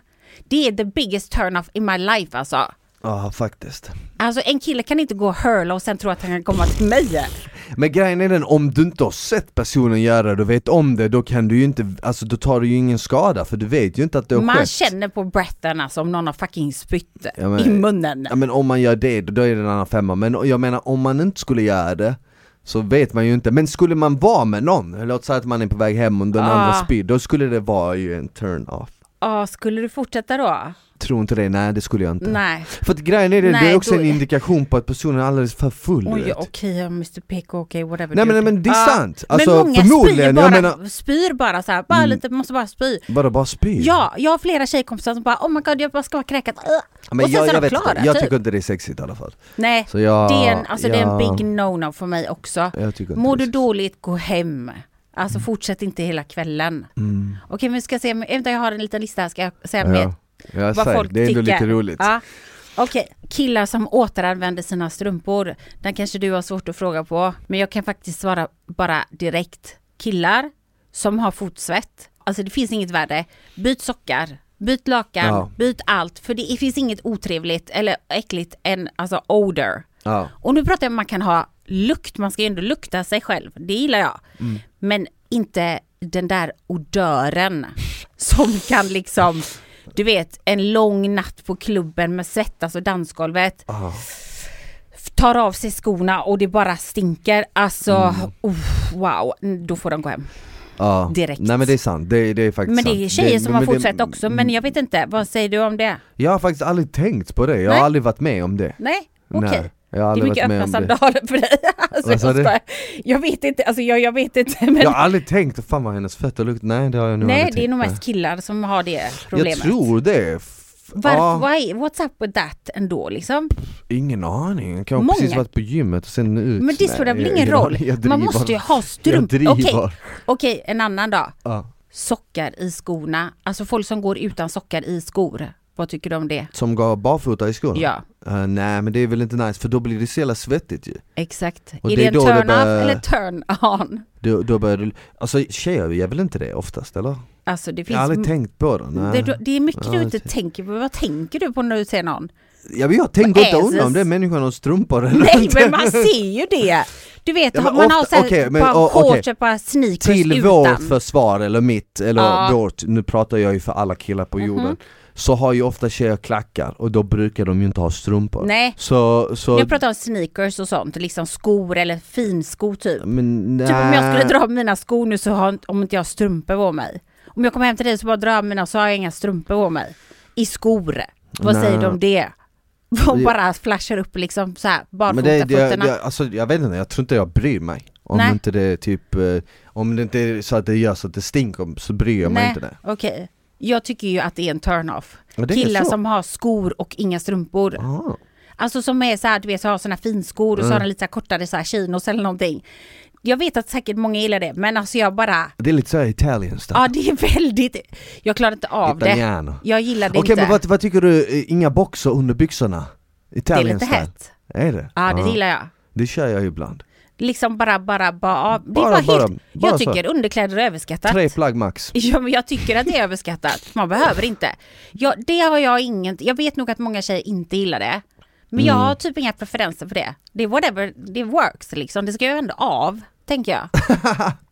det är the biggest turn-off in my life alltså.
Ja faktiskt.
Alltså en kille kan inte gå och hurla och sen tro att han kan komma till mig.
Men grejen är den, om du inte har sett personen göra det och vet om det, då kan du ju inte, alltså då tar du ju ingen skada för du vet ju inte att det har
Man
skett.
känner på breathen alltså om någon har fucking spytt
Ja, men-
i munnen.
Ja men om man gör det, då är det en annan femma. Men jag menar om man inte skulle göra det, så vet man ju inte. Men skulle man vara med någon, låt säga att man är på väg hem och den
Ah.
andra spyr, då skulle det vara ju en turn-off.
Ja, skulle du fortsätta då?
Tror inte det, nej det skulle jag inte.
Nej.
För att grejen är det, det är
Nej,
också
då-
en indikation på att personen är alldeles för full du
Oj,
vet.
okej, Mr PK, okej, whatever.
Nej
dude.
men, men det är
Ja.
sant! Alltså
men många spyr
förmodligen,
bara,
jag menar, Mm.
spyr bara så här, bara lite, måste bara spy.
bara, bara spyr.
Ja, jag har flera tjejkompisar som bara oh my god jag bara ska vara kräkat.
men
och sen
jag,
så är
jag,
de
vet
klara.
inte, jag
typ.
tycker inte det är sexigt i alla fall.
Nej,
Så jag,
det, är en, alltså, det är en
jag-
big no-no för mig också.
jag tycker inte Mm.
Mår
Ah, det
du
är sexigt.
dåligt, gå hem. Alltså fortsätt inte hela kvällen. Okej, men vi ska se, men- vänta jag har en liten lista här, ska jag säga med
Mm. Ja. Jag
vad
säger,
folk
det är ändå
tycker.
lite roligt.
Ja. Okej, killar som återanvänder sina strumpor. Den kanske du har svårt att fråga på. Men jag kan faktiskt svara bara direkt. Killar som har fotsvett. Alltså det finns inget värre. Byt sockar, byt lakan,
Ja.
byt allt. För det finns inget otrevligt eller äckligt än alltså odor.
Ja.
Och nu pratar jag om att man kan ha lukt, man ska ju ändå lukta sig själv, det gillar jag.
Mm.
Men inte den där odören som kan liksom, du vet en lång natt på klubben med svettas och dansgolvet.
Ah.
f- tar av sig skorna och det bara stinker. Alltså,
Mm.
uff, wow, Mm, då får de gå hem.
Ja.
Direkt.
Nej men det är sant, det, det är faktiskt
Men det
sant.
är tjejer som har
men det-
fortsatt också, men jag vet inte, vad säger du om det?
Jag har faktiskt aldrig tänkt på det, jag har
Nej.
aldrig varit med om det.
Nej, okej.
Nej, jag har
Det är
aldrig
mycket
varit med
öppna
om det.
sandaler för dig. Alltså,
Vad
jag,
sa du?
skojar. jag vet inte, alltså jag, jag vet inte. Men
Jag har aldrig tänkt, fan vad hennes fötter luktar, nej det har jag nog
nej,
aldrig
det är
tänkt
nog
på.
mest killar som har det problemet.
Jag tror det. F-
Varför,
ja,
why, what's up with that ändå liksom?
ingen aning, jag har
Många-
precis varit på gymmet och sen ut.
Men det
Nej,
spelar väl
jag-
ingen
jag-
roll?
jag
Man
driver.
måste ju ha
Jag
strump... Okej,
driver.
okej, en annan dag.
Ja.
Sockar i skorna. Alltså folk som går utan sockar i skor. Vad tycker du om det?
Som går barfota i skorna?
Ja,
Eh, nej men det är väl inte nice för då blir det så jävla svettigt ju.
exakt.
Och
är
det
det
är
en
då det
turn-off
börjar-
eller turn-on?
Då, då börjar du, alltså tjejer gör väl inte det oftast eller?
Alltså det
Jag har
finns...
aldrig tänkt på det. Nej.
det, det är mycket
Ja,
du inte
det-
tänker på. Vad tänker du på när du ser någon?
Ja, men jag tänker
Vad
inte
är det?
undra om det är människan och strumpor eller
Nej
inte.
men man ser ju det! Du vet,
Ja, men
man har
ofta-
såhär
okej, men,
bara
ja, okej.
shorts och bara sneakers
Till
utan.
vårt försvar eller mitt, eller
Ja. Mhm.
vårt, nu pratar jag ju för alla killar på jorden. Så har ju ofta tjejer klackar och då brukar de ju inte ha strumpor.
Nej,
Så, så...
jag pratar om sneakers och sånt, liksom skor eller finskor typ.
men, nej.
Typ om jag
Äh.
skulle dra av mina skor nu så har inte- om inte jag har strumpor på mig. Om jag kommer hem till dig så bara drar jag av mina så har jag inga strumpor på mig. I skor. Vad
Nej.
säger du om det? Och
Ja.
bara flashar upp liksom så här barfota
men det, det, jag,
fötterna.
jag, alltså, jag vet inte, jag tror inte jag bryr mig. Om
Nej.
inte det är typ, eh, om det inte är så att det gör så att det stinker så bryr jag mig
Nej,
inte det.
okej. Jag tycker ju att det är en turn-off.
Ja, det är
Killar
så.
som har skor och inga strumpor.
Ah.
Alltså som är så här, du vet, så har såna finskor och så har
Mm.
de lite så här kortare så här chinos eller någonting. Jag vet att säkert många gillar det, men alltså jag bara,
Det är lite såhär Italian stuff.
ja det är väldigt, jag klarar inte av det.
Italiano.
Jag gillar det
Okej
inte.
men vad, vad tycker du, eh, inga boxer under byxorna?
det är
Italian
lite
style.
hett.
Är det?
Ja, det gillar jag.
Det kör jag ibland.
Liksom bara, bara, bara. Det
Bara,
var helt,
bara,
jag
bara så.
tycker underkläder är överskattat.
Tre plagg max.
Ja, men jag tycker att det är överskattat. Man behöver inte. Ja, det har jag inget, jag vet nog att många tjejer inte gillar det. Men jag
Mm.
har typ inga preferenser för det. Det är whatever, det works liksom. Det ska jag ändå av, tänker jag.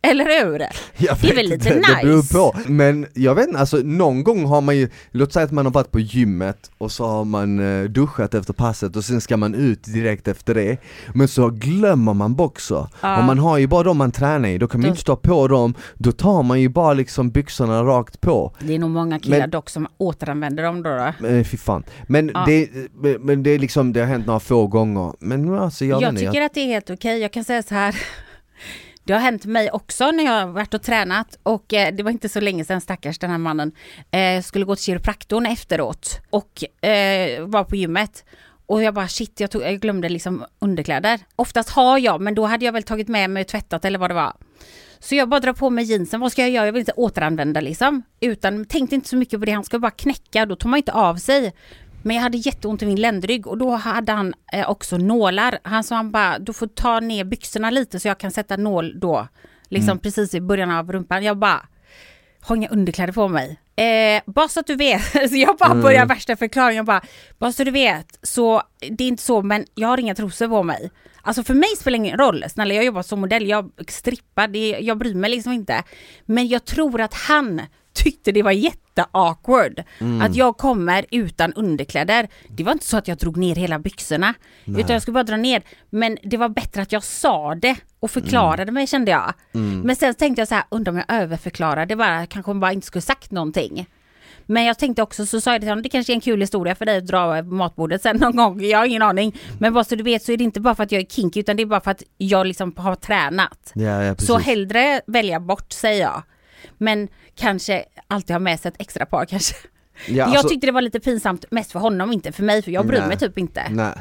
Eller hur?
Jag
Det är
vet
väl lite
inte, Det beror
nice.
på. Men jag vet inte, alltså någon gång har man ju, låt säga att man har varit på gymmet och så har man eh, duschat efter passet och sen ska man ut direkt efter det. Men så glömmer man boxer.
Ja.
Och man har ju bara dem man tränar i, då kan man
Då-
ju inte ta på dem. Då tar man ju bara liksom byxorna rakt på.
Det är nog många killar
Men-
dock som återanvänder dem då. då.
Men Eh, fy fan. Men,
Ja.
det, men det är liksom, det har hänt några få gånger. Men alltså jag,
Jag,
vet inte,
tycker att det är helt okej. Jag kan säga så här. Det har hänt mig också när jag har varit och tränat och eh, det var inte så länge sedan stackars den här mannen eh, skulle gå till kiropraktorn efteråt och eh, var på gymmet. Och jag bara shit, jag, tog, jag glömde liksom underkläder. Oftast har jag, men då hade jag väl tagit med mig och tvättat eller vad det var. Så jag bara drar på mig jeansen, vad ska jag göra? Jag vill inte återanvända liksom. Utan tänkte inte så mycket på det, han ska bara knäcka, då tog man inte av sig. Men jag hade jätteont i min ländrygg och då hade han eh, också nålar. Han sa han bara, du får ta ner byxorna lite så jag kan sätta nål då. Liksom precis i början av rumpan. Jag bara, har inga underkläder på mig. Eh, bara så att du vet, så jag bara börjar värsta förklaringen, jag bara, bara så du vet, så det är inte så men jag har inga trosor på mig. Alltså för mig spelar det ingen roll, snälla jag jobbar som modell, jag strippar, det, jag bryr mig liksom inte. Men jag tror att han tyckte det var jätteawkward att jag kommer utan underkläder. Det var inte så att jag drog ner hela byxorna, utan jag skulle bara dra ner. Men det var bättre att jag sa det och förklarade mig kände jag. Men sen tänkte jag så här, undrar om jag överförklarade bara, kanske hon bara inte skulle sagt någonting. Men jag tänkte också, så sa jag till honom, det kanske är en kul historia för dig att dra av matbordet sen någon gång, jag har ingen aning. Men bara så du vet så är det inte bara för att jag är kinky utan det är bara för att jag liksom har tränat.
Ja, ja, precis.
Så hellre välja bort säger jag. Men kanske alltid ha med sig ett extra par kanske.
ja, alltså,
jag tyckte det var lite pinsamt, mest för honom, inte för mig, för jag bryr
Nej.
mig typ inte.
Nej.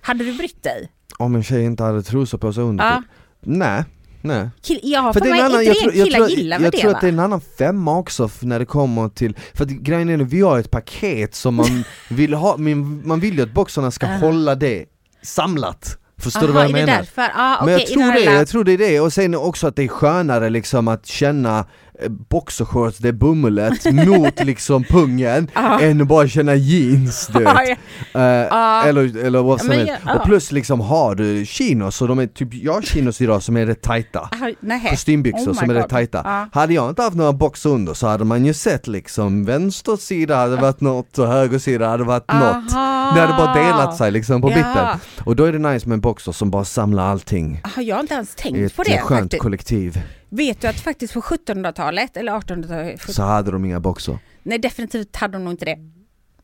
Hade du brytt dig?
Om en tjej inte hade trosor på sig under
Ja.
typ. Nej, nej.
Kill- ja, för,
det är
mig,
en
inte
jag
det
tror-
en
jag
killar
tror-
gillar med
Jag
det
tror
va?
att det är en annan femma också f- när det kommer till, för att grejen är att vi har ett paket som man vill ha, men man vill ju att boxarna ska hålla det samlat. Förstår du vad jag
är det
menar?
därför? Ah,
Men jag
okej, i den
tror,
här
det,
lilla-
jag tror det är det, och sen också att det är skönare liksom att känna eh, boxershorts, det är bumlet mot liksom pungen än att bara känna jeans du vet. Eh,
Ja.
eller, eller vad som
men
helst.
jag- ja.
Och plus liksom har du chinos, och de är typ, jag har chinos idag som är rätt tajta
Nej.
Kostymbyxor
Ah, Oh my
som är rätt
God.
tajta.
Ja.
Hade jag inte haft några boxer under så hade man ju sett liksom vänster sida hade varit något och höger sida hade varit något.
Aha.
Det hade bara delat sig liksom på
Ja.
mitten. Och då är det nice med en boxer som bara samlar allting
Ah, Jag har inte ens tänkt
i
på
ett
det
eh, skönt
faktiskt.
kollektiv.
Vet du att faktiskt på 1700-talet eller 1800-talet, sjut-
Så hade de inga boxer.
nej definitivt hade de nog inte det.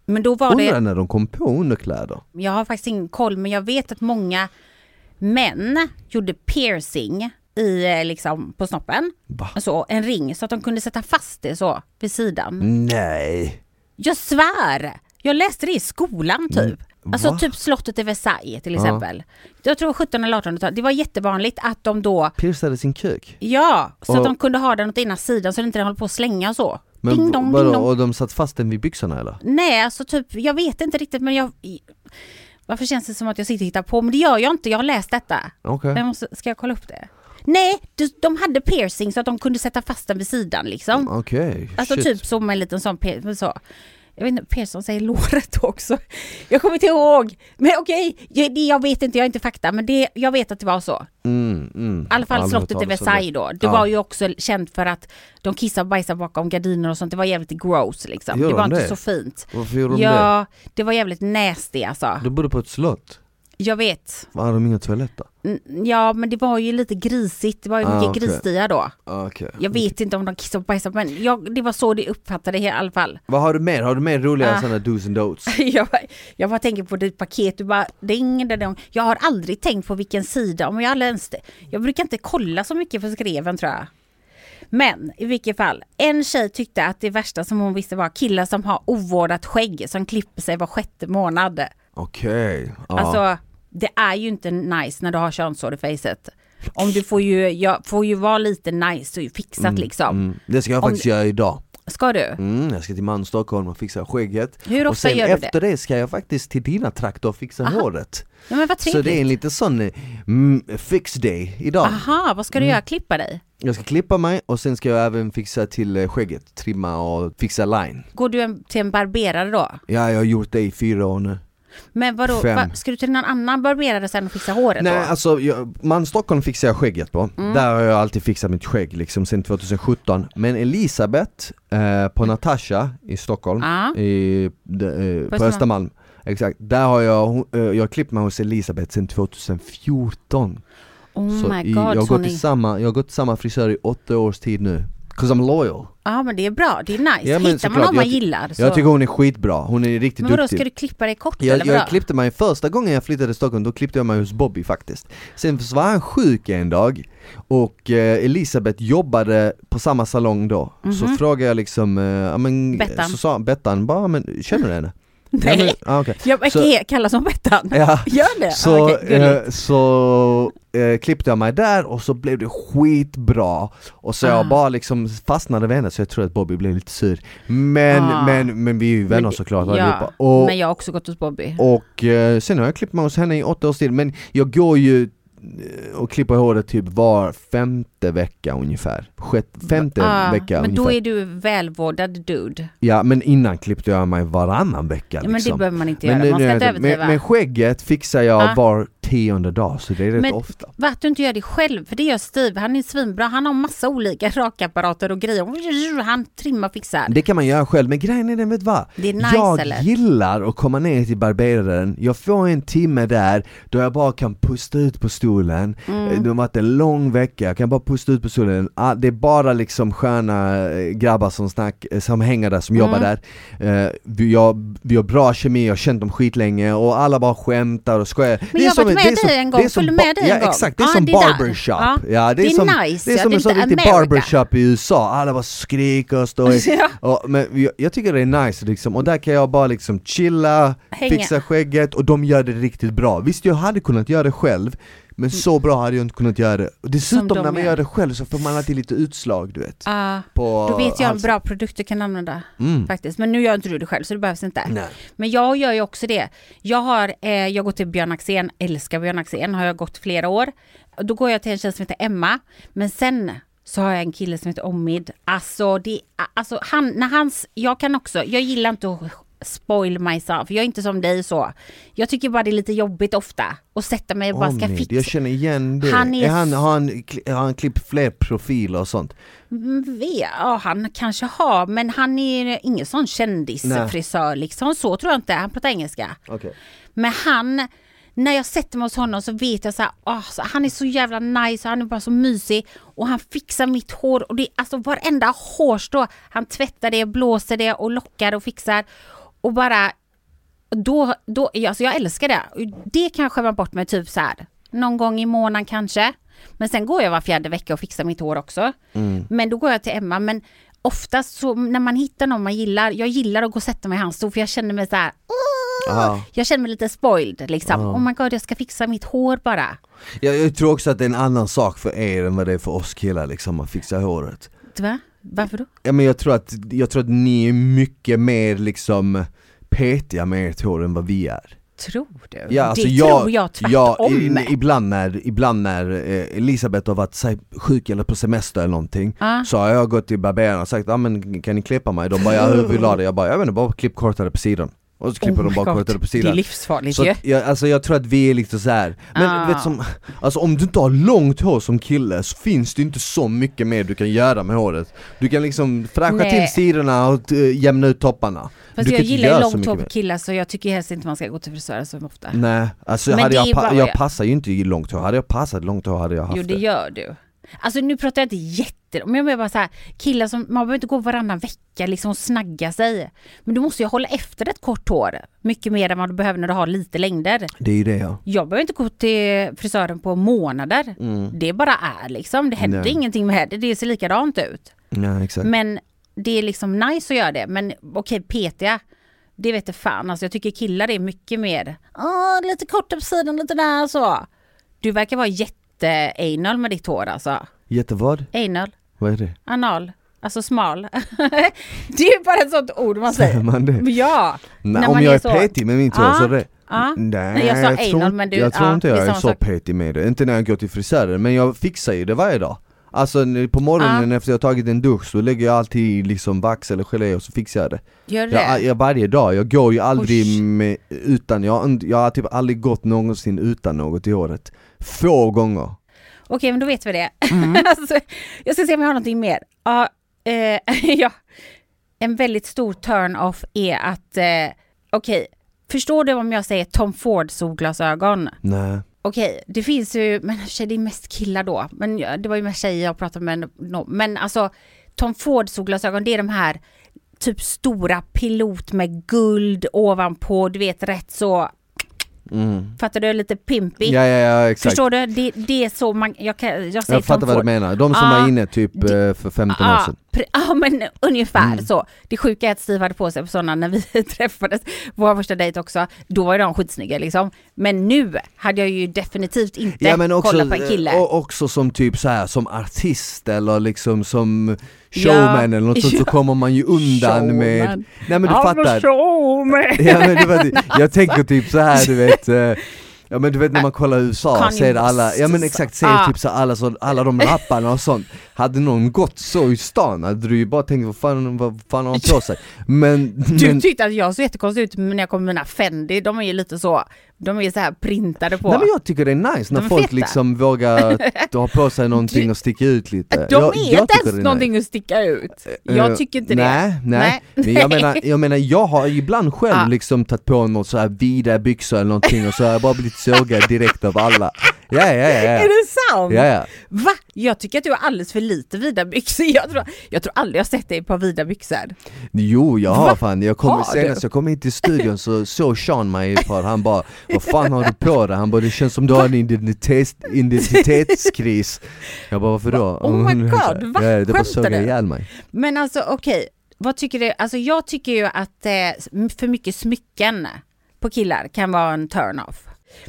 Men då var
Undrar
det,
när de kom på underkläder.
jag har faktiskt ingen koll, men jag vet att många män gjorde piercing i, eh, liksom, på snoppen.
Va?
Så, en ring, så att de kunde sätta fast det så vid sidan.
Mm. Nej!
Jag svär! Jag läste det i skolan typ. Alltså
Mm. va?
typ slottet i Versailles till exempel. Jag tror 17 eller 1800-talet, det var jättevanligt att de då
Piercade sin kuk.
Ja, så
Och-
att de kunde ha den åt ena sidan så att inte den höll på att slänga och så.
Men
ding dong,
vadå,
ding dong.
och de satt fast den vid byxorna eller?
Nej, alltså typ, jag vet inte riktigt men jag... i- Varför känns det som att jag sitter och hittar på? Men det gör jag inte, jag har läst detta.
Okej.
Jag måste, ska jag kolla upp det? Nej, du- de hade piercing så att de kunde sätta fast den vid sidan liksom.
Okej,
Alltså
shit.
typ som en liten sån piercing. Så. Jag vet inte, piercing säger låret också. Jag kommer inte ihåg. Men okej, jag- det jag vet inte, jag har inte fakta. Men det, jag vet att det var så.
Mm, mm.
I alla fall
Aldrig hört
slottet i
talas om det.
Versailles då. Det
Ja.
var ju också känt för att de kissade och bajsade bakom gardiner och sånt. Det var jävligt gross liksom.
Gör
det var
de
inte
det?
så fint.
Varför gjorde de det?
Ja, det var jävligt nasty alltså.
Du bodde på ett slott?
Jag vet.
Var de inga toaletter?
Mm, Ja, men det var ju lite grisigt. Det var ju
Ah,
mycket
okej.
grisstigar då.
Okej
Jag vet inte om de kissade och bajsade, men jag, det var så det uppfattade i alla fall.
Vad har du mer? Har du mer roliga
Ah.
sådana do's and don'ts?
jag, bara, jag bara tänker på ditt paket, du bara ding, ding, ding. Jag har aldrig tänkt på vilken sida, om jag aldrig ens, jag brukar inte kolla så mycket för skreven tror jag. Men i vilket fall, en tjej tyckte att det värsta som hon visste var killar som har ovårdat skägg som klipper sig var sjätte månad.
Okej, ja.
Alltså det är ju inte nice när du har könshår i fejset. Om du får ju, jag får ju vara lite nice och fixat liksom.
mm. Det ska jag
om-
faktiskt göra idag.
Ska du?
Mm, jag ska till Malmö, Stockholm och fixa skägget.
Hur
och
ofta
sen
gör du det?
efter det? ska jag faktiskt till dina trakter och fixa håret.
Ja, men vad
Så det är
trevligt. Ah.
en liten sån eh, mm, fix day idag.
Aha, vad
Mm.
ska du göra? Klippa dig?
Jag ska klippa mig och sen ska jag även fixa till eh, skägget, trimma och fixa line.
Går du en, till en barberare då?
Ja, jag har gjort det i fyra år nu.
Men vadå,
Fem.
va, ska du till någon annan barberare sen och fixa håret
Nej
då?
alltså, jag, man Stockholm fixar jag skägget på.
Mm.
Där har jag alltid fixat mitt skägg liksom sen 2017. Men Elisabeth eh, på Natasha i Stockholm,
Ja.
i, de, eh, på
Ah. Östermalm.
Östermalm. Exakt, där har jag, hon- eh, jag har klippt mig hos Elisabeth sen 2014.
Oh
Så
my
i,
god
jag, har gått
Sonny.
till samma, jag har gått till samma frisör i åtta års tid nu. 'Cause I'm loyal.
Ja men det är bra, det är nice.
Ja,
Hittar
men
man
såklart.
någon man
Jag ty-
gillar så.
Jag tycker hon är skitbra, hon är riktigt
men vadå,
duktig.
ska du klippa dig kort
Jag,
eller vadå?
jag klippte mig första gången jag flyttade till Stockholm, då klippte jag mig hos Bobby faktiskt. Sen så var han sjuk en dag och eh, Elisabeth jobbade på samma salong då. Så frågade jag liksom, eh, ja men,
Mhm. Bettan.
så sa han- Bettan, bara, men känner du henne?
Nej.
Ja, men, ah, okej.
Jag bara,
Så-
"Okej, kallas som Bettan.
Ja.
Gör det?
Så,
Ah, okej, gulligt.
eh, så eh, klippte jag mig där och så blev det skitbra Och så
Ah.
jag bara liksom fastnade vid henne så jag tror att Bobby blev lite sur Men,
Ah.
men, men vi är ju vänner
Men det-
såklart
ja.
allihopa och,
Men jag har också gått hos Bobby.
Och eh, sen har jag klippt mig hos henne i åtta års tid, men jag går ju eh, och klipper håret typ var femte vecka ungefär. Sjätte, femte
Ah,
vecka
men
ungefär.
då är du välvårdad dude.
Ja men innan klippte jag mig varannan vecka
Ja, men det
liksom.
behöver man inte
Men
göra, man
nu-
ska
nu-
inte överdriva.
men, men skägget fixar jag
Ah.
var tionde dag, så det är rätt
Men-
ofta.
Va, att du inte gör det själv, för det gör Steve, han är svinbra, han har massa olika rakapparater och grejer. Han trimmar och fixar.
Det kan man göra själv, men grejen är den, vet du vad?
Det är nice,
jag
eller?
gillar att komma ner till barberaren, jag får en timme där då jag bara kan pusta ut på stolen
Mm.
Eh, Det har varit en lång vecka, jag kan bara pusta ut på stolen Ah, Det är bara liksom sköna eh, grabbar som, snack, eh, som hänger där, som
Mm.
jobbar där Eh, vi, jag, vi har bra kemi, jag har känt dem skitlänge och alla bara skämtar och skojar
Men jag har varit med dig en gång, följde med dig
ja,
en gång.
exakt, det är
Ah,
som
det där.
barbershop
Ja.
Ja, det, är
Det är
som,
nice,
det är
ja,
som
det är
en sån
lite
riktig
America.
barbershop i USA, alla bara skriker och står i-
Ja.
Ja, men jag, jag tycker det är nice liksom, och där kan jag bara liksom chilla,
Hänga.
fixa skägget och de gör det riktigt bra. Visst jag hade kunnat göra det själv, men så bra hade jag inte kunnat göra det. Och dessutom
Mm. de
när man
gör.
gör det själv så får man alltid lite utslag du vet.
Ah.
På
Då vet jag en
halsen.
bra
Mm.
produkt du kan använda faktiskt. Men nu gör inte du det själv så det behövs inte.
Nej.
Men jag gör ju också det. Jag har, eh, jag går till Björn Axén, älskar Björn Axén, har jag gått flera år. Då går jag till en tjej som heter Emma, men sen så har jag en kille som heter Omid. Alltså, det, alltså han, när hans, jag kan också, jag gillar inte att spoil myself, jag är inte som dig så. Jag tycker bara det är lite jobbigt ofta och sätta mig och bara ska
Omid,
fixa.
jag känner igen det.
Han
Han
är
är han, har, han, kli- har han klippt fler profiler och sånt?
Mm, Vet, ja, han kanske har, men han är ingen sån kändisfrisör liksom. Så tror jag inte, han pratar engelska.
Okej.
Men han, när jag sätter mig hos honom så vet jag så här, ah, så han är så jävla nice och han är bara så mysig. Och han fixar mitt hår och det är alltså varenda hårstrå. Han tvättar det, blåser det och lockar och fixar. Och bara, då, då, ja, alltså jag älskar det. Och Det kan jag skämma bort mig typ så här, någon gång i månaden kanske. Men sen går jag var fjärde vecka och fixar mitt hår också. Men då går jag till Emma. Men oftast så när man hittar någon man gillar, jag gillar att gå och sätta mig i hans stol för jag känner mig så här, "Åh!"
Ja.
jag känner mig lite spoiled liksom. Oh my god, jag ska fixa mitt hår bara.
Jag, jag tror också att det är en annan sak för er än vad det är för oss killar liksom, att fixa håret.
Va? Varför då?
Ja, men jag, tror att, jag tror att ni är mycket mer liksom petiga med ert hår än vad vi är.
Tror du?
Ja, alltså
det
jag,
tror jag
ja,
tvärtom.
i- i- ibland när, ibland när eh, Elisabeth har varit säg, sjuk eller på semester eller någonting
Ah.
Så har jag gått till barberaren och sagt ah, men kan ni klippa mig? De bara ja, hur vill du ha det? Jag bara jag vet inte, bara klipp kortare på sidan Och så klipper
Oh
de
my
bara
God,
kortare på
Det är
sidan
livsfarligt
så
ju.
att jag, alltså jag tror att vi är lite så här. men
Ah.
du vet som, alltså om du inte har långt hår som kille så finns det inte så mycket mer du kan göra med håret Du kan liksom fräscha
Nej.
till sidorna och eh, jämna ut topparna
Fast
du
jag
kan inte
gillar ju
göra så
långt
mycket
hår
mer.
på killar så jag tycker helst inte man ska gå till frisören så ofta.
Nej, alltså
Men
hade
det
jag,
är
pa-
bara-
jag passar ju inte i långt hår, hade jag passat långt hår hade jag haft
Jo det
det
gör du. Alltså nu pratar jag inte jätte, men jag menar bara så här, killar som, man behöver inte gå varannan vecka liksom och snagga sig. Men du måste ju hålla efter ett kort hår, mycket mer än vad du behöver när du har lite längder.
Det är ju det ja
Jag behöver inte gå till frisören på månader. Det bara är liksom, det händer
Mm. Nej.
ingenting med det, det ser likadant ut.
Ja exakt
Men det är liksom nice att göra det, men okej petiga, det vet jag fan, alltså jag tycker killar är mycket mer, "Åh, lite kortare på sidan, lite där så. Du verkar vara jätteanal med ditt hår alltså.
Jättevad?
Anal,
Vad är det?
anal, alltså smal. det är ju bara ett sånt ord man
Säger
säger.
man det?
Ja,
Nej,
när
om
man
jag är,
är så-
petig med mitt hår
Ja,
så är det
ja.
Nej,
Nej, Ah, jag sa
tror,
anal,
inte-
men du-
jag tror
ja,
inte
det är
jag är
samma
så
sak.
petig med det, inte när jag går till frisören men jag fixar ju det varje dag Alltså n- på
Ah.
morgonen efter jag tagit en dusch så lägger jag alltid i liksom vax eller gelé och så fixar jag det
gör du det?
jag, jag, Varje dag, jag går ju aldrig
Oj.
med, utan, jag, har inte- jag har typ aldrig gått någonsin utan något i håret Få gånger
Okej, men då vet vi det.
Mm.
alltså, jag ska se om jag har någonting mer. Ja, eh, ja. En väldigt stor turn-off är att, eh, okej, förstår du om jag säger Tom Ford solglasögon?
Nej
Okej, det finns ju, men i och för sig, det är mest killar då, men jag- det var ju mest tjejer jag pratade med, no, men alltså Tom Ford solglasögon, det är de här typ stora pilot med guld ovanpå, du vet rätt så,
mm.
fattar du, lite pimpigt.
Ja, ja, ja exakt.
Förstår du? Det, det är så man, jag, kan, jag säger
jag fattar
Tom
vad
Ford.
du menar. De som
Ja,
var inne typ
Ah. det-
eh, för 15 år
Ja,
sedan.
Ah, pre- ja men ungefär
Mm.
så. Det sjuka är att Steve hade på sig sådana när vi träffades, vår första dejt också, då var ju de skitsnygga liksom. Men nu hade jag ju definitivt inte
Ja men också,
kollat på en kille.
eh, och också som typ så här som artist eller liksom som showman eller något sånt så
Ja.
kommer man ju undan
Showman.
med Nej men du
I'm a
fattar,
showman.
ja, men du vet, jag tänker typ så här du vet eh, Ja men du vet när man kollar USA,
Kanye
ser alla, ja men
West.
exakt, ser
Ah.
typ så alla, så, alla de rapparna och sånt Hade någon gått så i stan hade du ju bara tänkt vad fan, vad fan har han på sig? Men,
Du
men
tyckte att jag såg jättekonstig ut när jag kom med mina Fendi, de är ju lite så, de är ju så här printade på.
Nej men jag tycker det är nice när
De är
folk
feta.
liksom vågar ha på sig någonting och sticka ut lite
de
jag,
är inte
jag tycker det
ens
nice.
någonting att sticka ut.
Eh,
Jag tycker inte det.
Nej, nej,
Nej.
men jag menar, jag menar jag har ibland själv
Ah.
liksom tagit på något så här vida byxor eller någonting och så har jag bara blivit sågad direkt av alla Ja ja ja ja,
Är det sant?
ja, ja.
Va? Jag tycker att du har alldeles för lite vida byxor. Jag tror, jag tror aldrig jag har sett dig på vida byxor.
Jo jag har
Va?
fan, jag kom,
Har
senast
du?
jag kom hit till studion så såg Sean mig ett par, han bara Vad fan har du på dig? Han bara det känns som du har en identitets, identitetskris Jag bara varför då?
Oh my God,
Ja,
va?
ja, Det bara
Skämtar
såg
du?
ihjäl mig
Men alltså okej, vad tycker du? Alltså jag tycker ju att eh, för mycket smycken på killar kan vara en turn-off.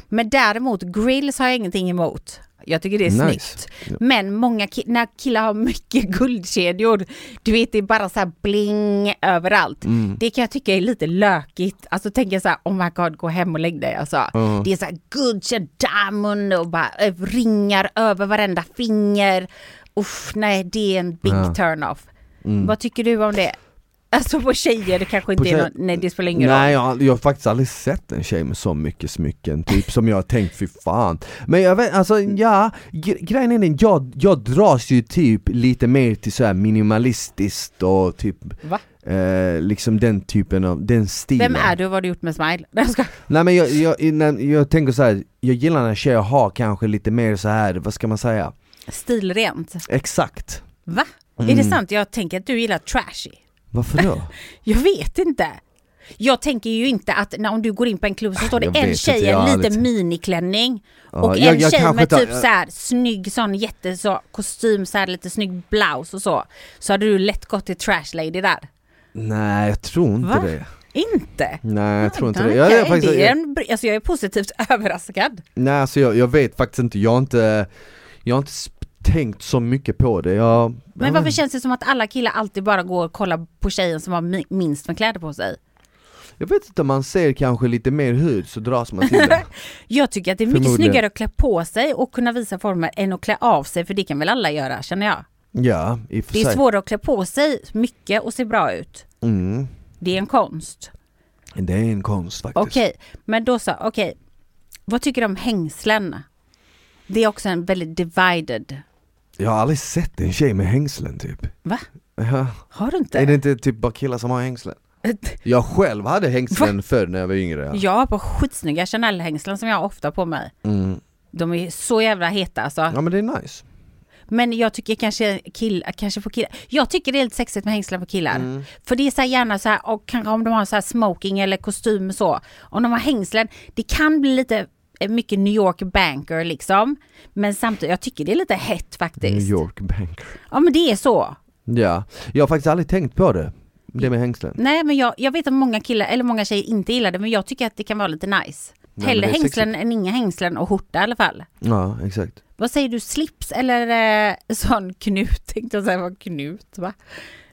Men däremot grills har jag ingenting emot. Jag tycker det är
Nice.
snyggt.
Ja.
Men många ki- när killar har mycket guldkedjor, du vet det är bara så här bling överallt.
Mm.
Det kan jag tycka är lite lökigt. Alltså tänker jag så här, oh my god, gå hem och lägg dig alltså.
Ja.
Det är så här guldkedja, diamond och bara eh, ringar över varenda finger. Uff, nej det är en big
Ja. Mm.
turn-off. Vad tycker du om det? Alltså på tjejer, det kanske inte
På
är
tjejer-
någon, nej det spelar ingen roll.
Mm. Nej jag, har aldrig- jag har faktiskt aldrig sett en tjej med så mycket smycken, typ som jag har tänkt, fy fan Men jag vet, alltså ja, gre- grejen är den, jag, jag dras ju typ lite mer till så här minimalistiskt och typ
Va?
eh, liksom den typen av, den stilen
Vem är du och vad har du gjort med Smile? Nej, jag skojar.
Nej men jag, jag, jag, jag tänker så här. jag gillar när tjejer har kanske lite mer så här vad ska man säga?
Stilrent.
Exakt
Va? Är
Mm.
det sant? Jag tänker att du gillar trashy.
Varför då?
Jag vet inte. Jag tänker ju inte att när om du går in på en klubb så står det
Jag
en
vet
tjej
inte,
i
jag har
en
aldrig-
liten miniklänning
Ja,
och
jag-
en
jag
tjej
kanske
med
tar-
typ så här snygg sån jätte så kostym så här lite snygg blouse och så. Så hade du lätt gått till trash lady där.
Nej jag tror inte
Va?
det
Inte?
Nej jag tror inte det,
Okej,
jag, jag, faktiskt,
det är
jag,
en, br- alltså jag är positivt överraskad.
nej, alltså jag, jag vet faktiskt inte, jag har inte, jag har inte sp- tänkt så mycket på det, jag,
Men
jag
varför
vet-
känns det som att alla killar alltid bara går och kollar på tjejen som har mi- minst med kläder på sig?
jag vet inte, om man ser kanske lite mer hud så dras man till det
Jag tycker att det är mycket
Förmodligen.
snyggare att klä på sig och kunna visa former än att klä av sig för det kan väl alla göra känner jag.
Ja, i och för
Det är
sig
svårare att klä på sig mycket och se bra ut.
mm.
Det är en konst.
Det är en konst faktiskt
Okej, men då så, okej. Vad tycker du om hängslen? Det är också en väldigt divided.
Jag har aldrig sett en tjej med hängslen typ
Va?
ja.
Har du
Är det
inte?
inte typ bara killar som har hängslen? Jag själv hade hängslen förr när jag var yngre ja.
Jag har på skitsnygga Chanel-hängslen som jag har ofta på mig.
Mm.
De är så jävla heta alltså.
ja men det är nice
Men jag tycker kanske killar, kanske för killar. Jag tycker det är lite sexigt med hängslen på killar.
Mm.
För det är så här gärna så här, och kanske om de har så här smoking eller kostym och så. Om de har hängslen, det kan bli lite eh, mycket New York banker liksom. Men samtidigt, jag tycker det är lite hett
New
faktiskt.
York banker
Ja men det är så.
Ja, jag har faktiskt aldrig tänkt på det, det med hängslen
Nej men jag, jag vet att många killar, eller många tjejer inte gillar det, men jag tycker att det kan vara lite nice.
men
Hellre
det är
hängslen än inga hängslen och skjorta i alla fall.
Ja, exakt
Vad säger du, slips eller eh, sån knut? Tänkte jag säga, vad knut va?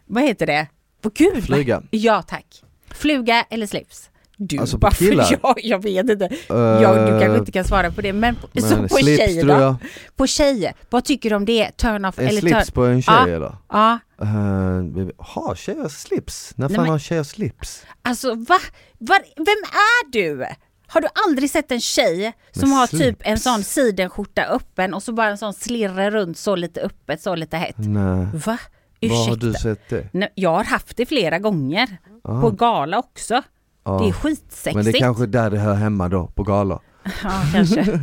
Vad heter det? På gud!
Flyga.
Ja tack. Fluga eller slips? Du,
Alltså, på
varför
killar? Eh,
jag? Jag vet inte. jag, du kanske inte kan svara på det. Men på, så på tjejer då?
jag.
På tjejer, vad tycker du om det? Turn-off
En
eller Ah.
slips
turn...
på en tjej
Ja.
eller?
Ja,
Uh, har tjejer slips? När
Nej,
fan
men-
har tjejer slips?
alltså va? Var, vem är du? Har du aldrig sett en tjej som
Med
har typ
slips?
en sån sidenskjorta öppen och så bara en sån slirre runt så lite öppet, så lite hett?
Nej,
Va?
var
Ursäkta.
har du sett det?
Nej, jag har haft det flera gånger.
Ah.
På gala också.
Ja.
Det är skitsexigt.
Ah, Men det är kanske där det hör hemma då, på galor
Ja, kanske.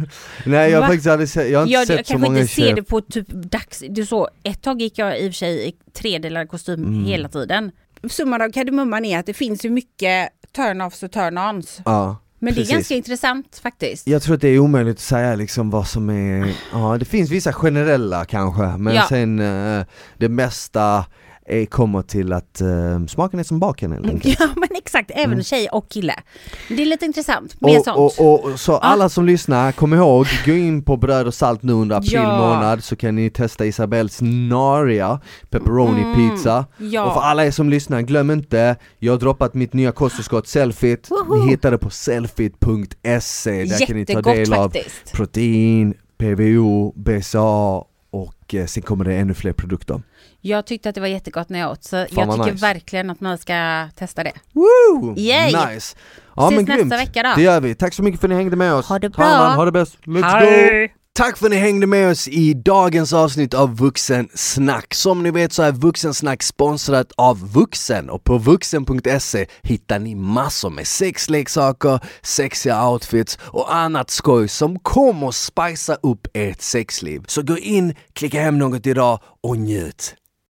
Nej jag har
Va?
faktiskt aldrig sett, jag har inte
Jag,
sett
jag
så
kanske
många
inte ser det
tjejer
på typ dags... Det är så, ett tag gick jag i och för sig i tredelad kostym
Mm.
hela tiden. Summan av kardemumman är att det finns ju mycket turn-offs och turn-ons.
Ja,
Men det
precis.
är ganska intressant faktiskt.
Jag tror att det är omöjligt att säga liksom vad som är, ja det finns vissa generella kanske men
Ja.
sen eh, det mesta är, kommer till att eh, smaken är som baken helt enkelt.
Ja men exakt, även tjej och kille. Det är lite intressant, mer
Mm. Och,
sånt.
och, och, och så alla som lyssnar, kom ihåg, gå in på Bröd och Salt nu under april
Ja.
månad så kan ni testa Isabells naria pepperoni pizza
Mm. ja.
Och för alla er som lyssnar, glöm inte, jag har droppat mitt nya kosttillskott Selfit
Woho!
Ni hittar det på selfit.se, där kan ni ta
Jättegott
del av
faktiskt.
protein, PVO, BCA och eh, sen kommer det ännu fler produkter.
Jag tyckte att det var jättegott när jag åt så jag
vad
tycker
nice.
verkligen att man ska testa det.
Woo!
Yay!
Nice! Ja
Ses
men
nästa
grymt,
vecka då.
det gör vi. Tack så mycket för att ni hängde med oss.
Ha det
Ta hand om
bra.
er. ha det bäst. Let's go!
Hej!
Tack för att ni hängde med oss i dagens avsnitt av Vuxensnack. Som ni vet så är Vuxensnack sponsrat av Vuxen och på vuxen.se hittar ni massor med sexleksaker, sexiga outfits och annat skoj som kommer att spicea upp ert sexliv. Så gå in, klicka hem något idag och njut.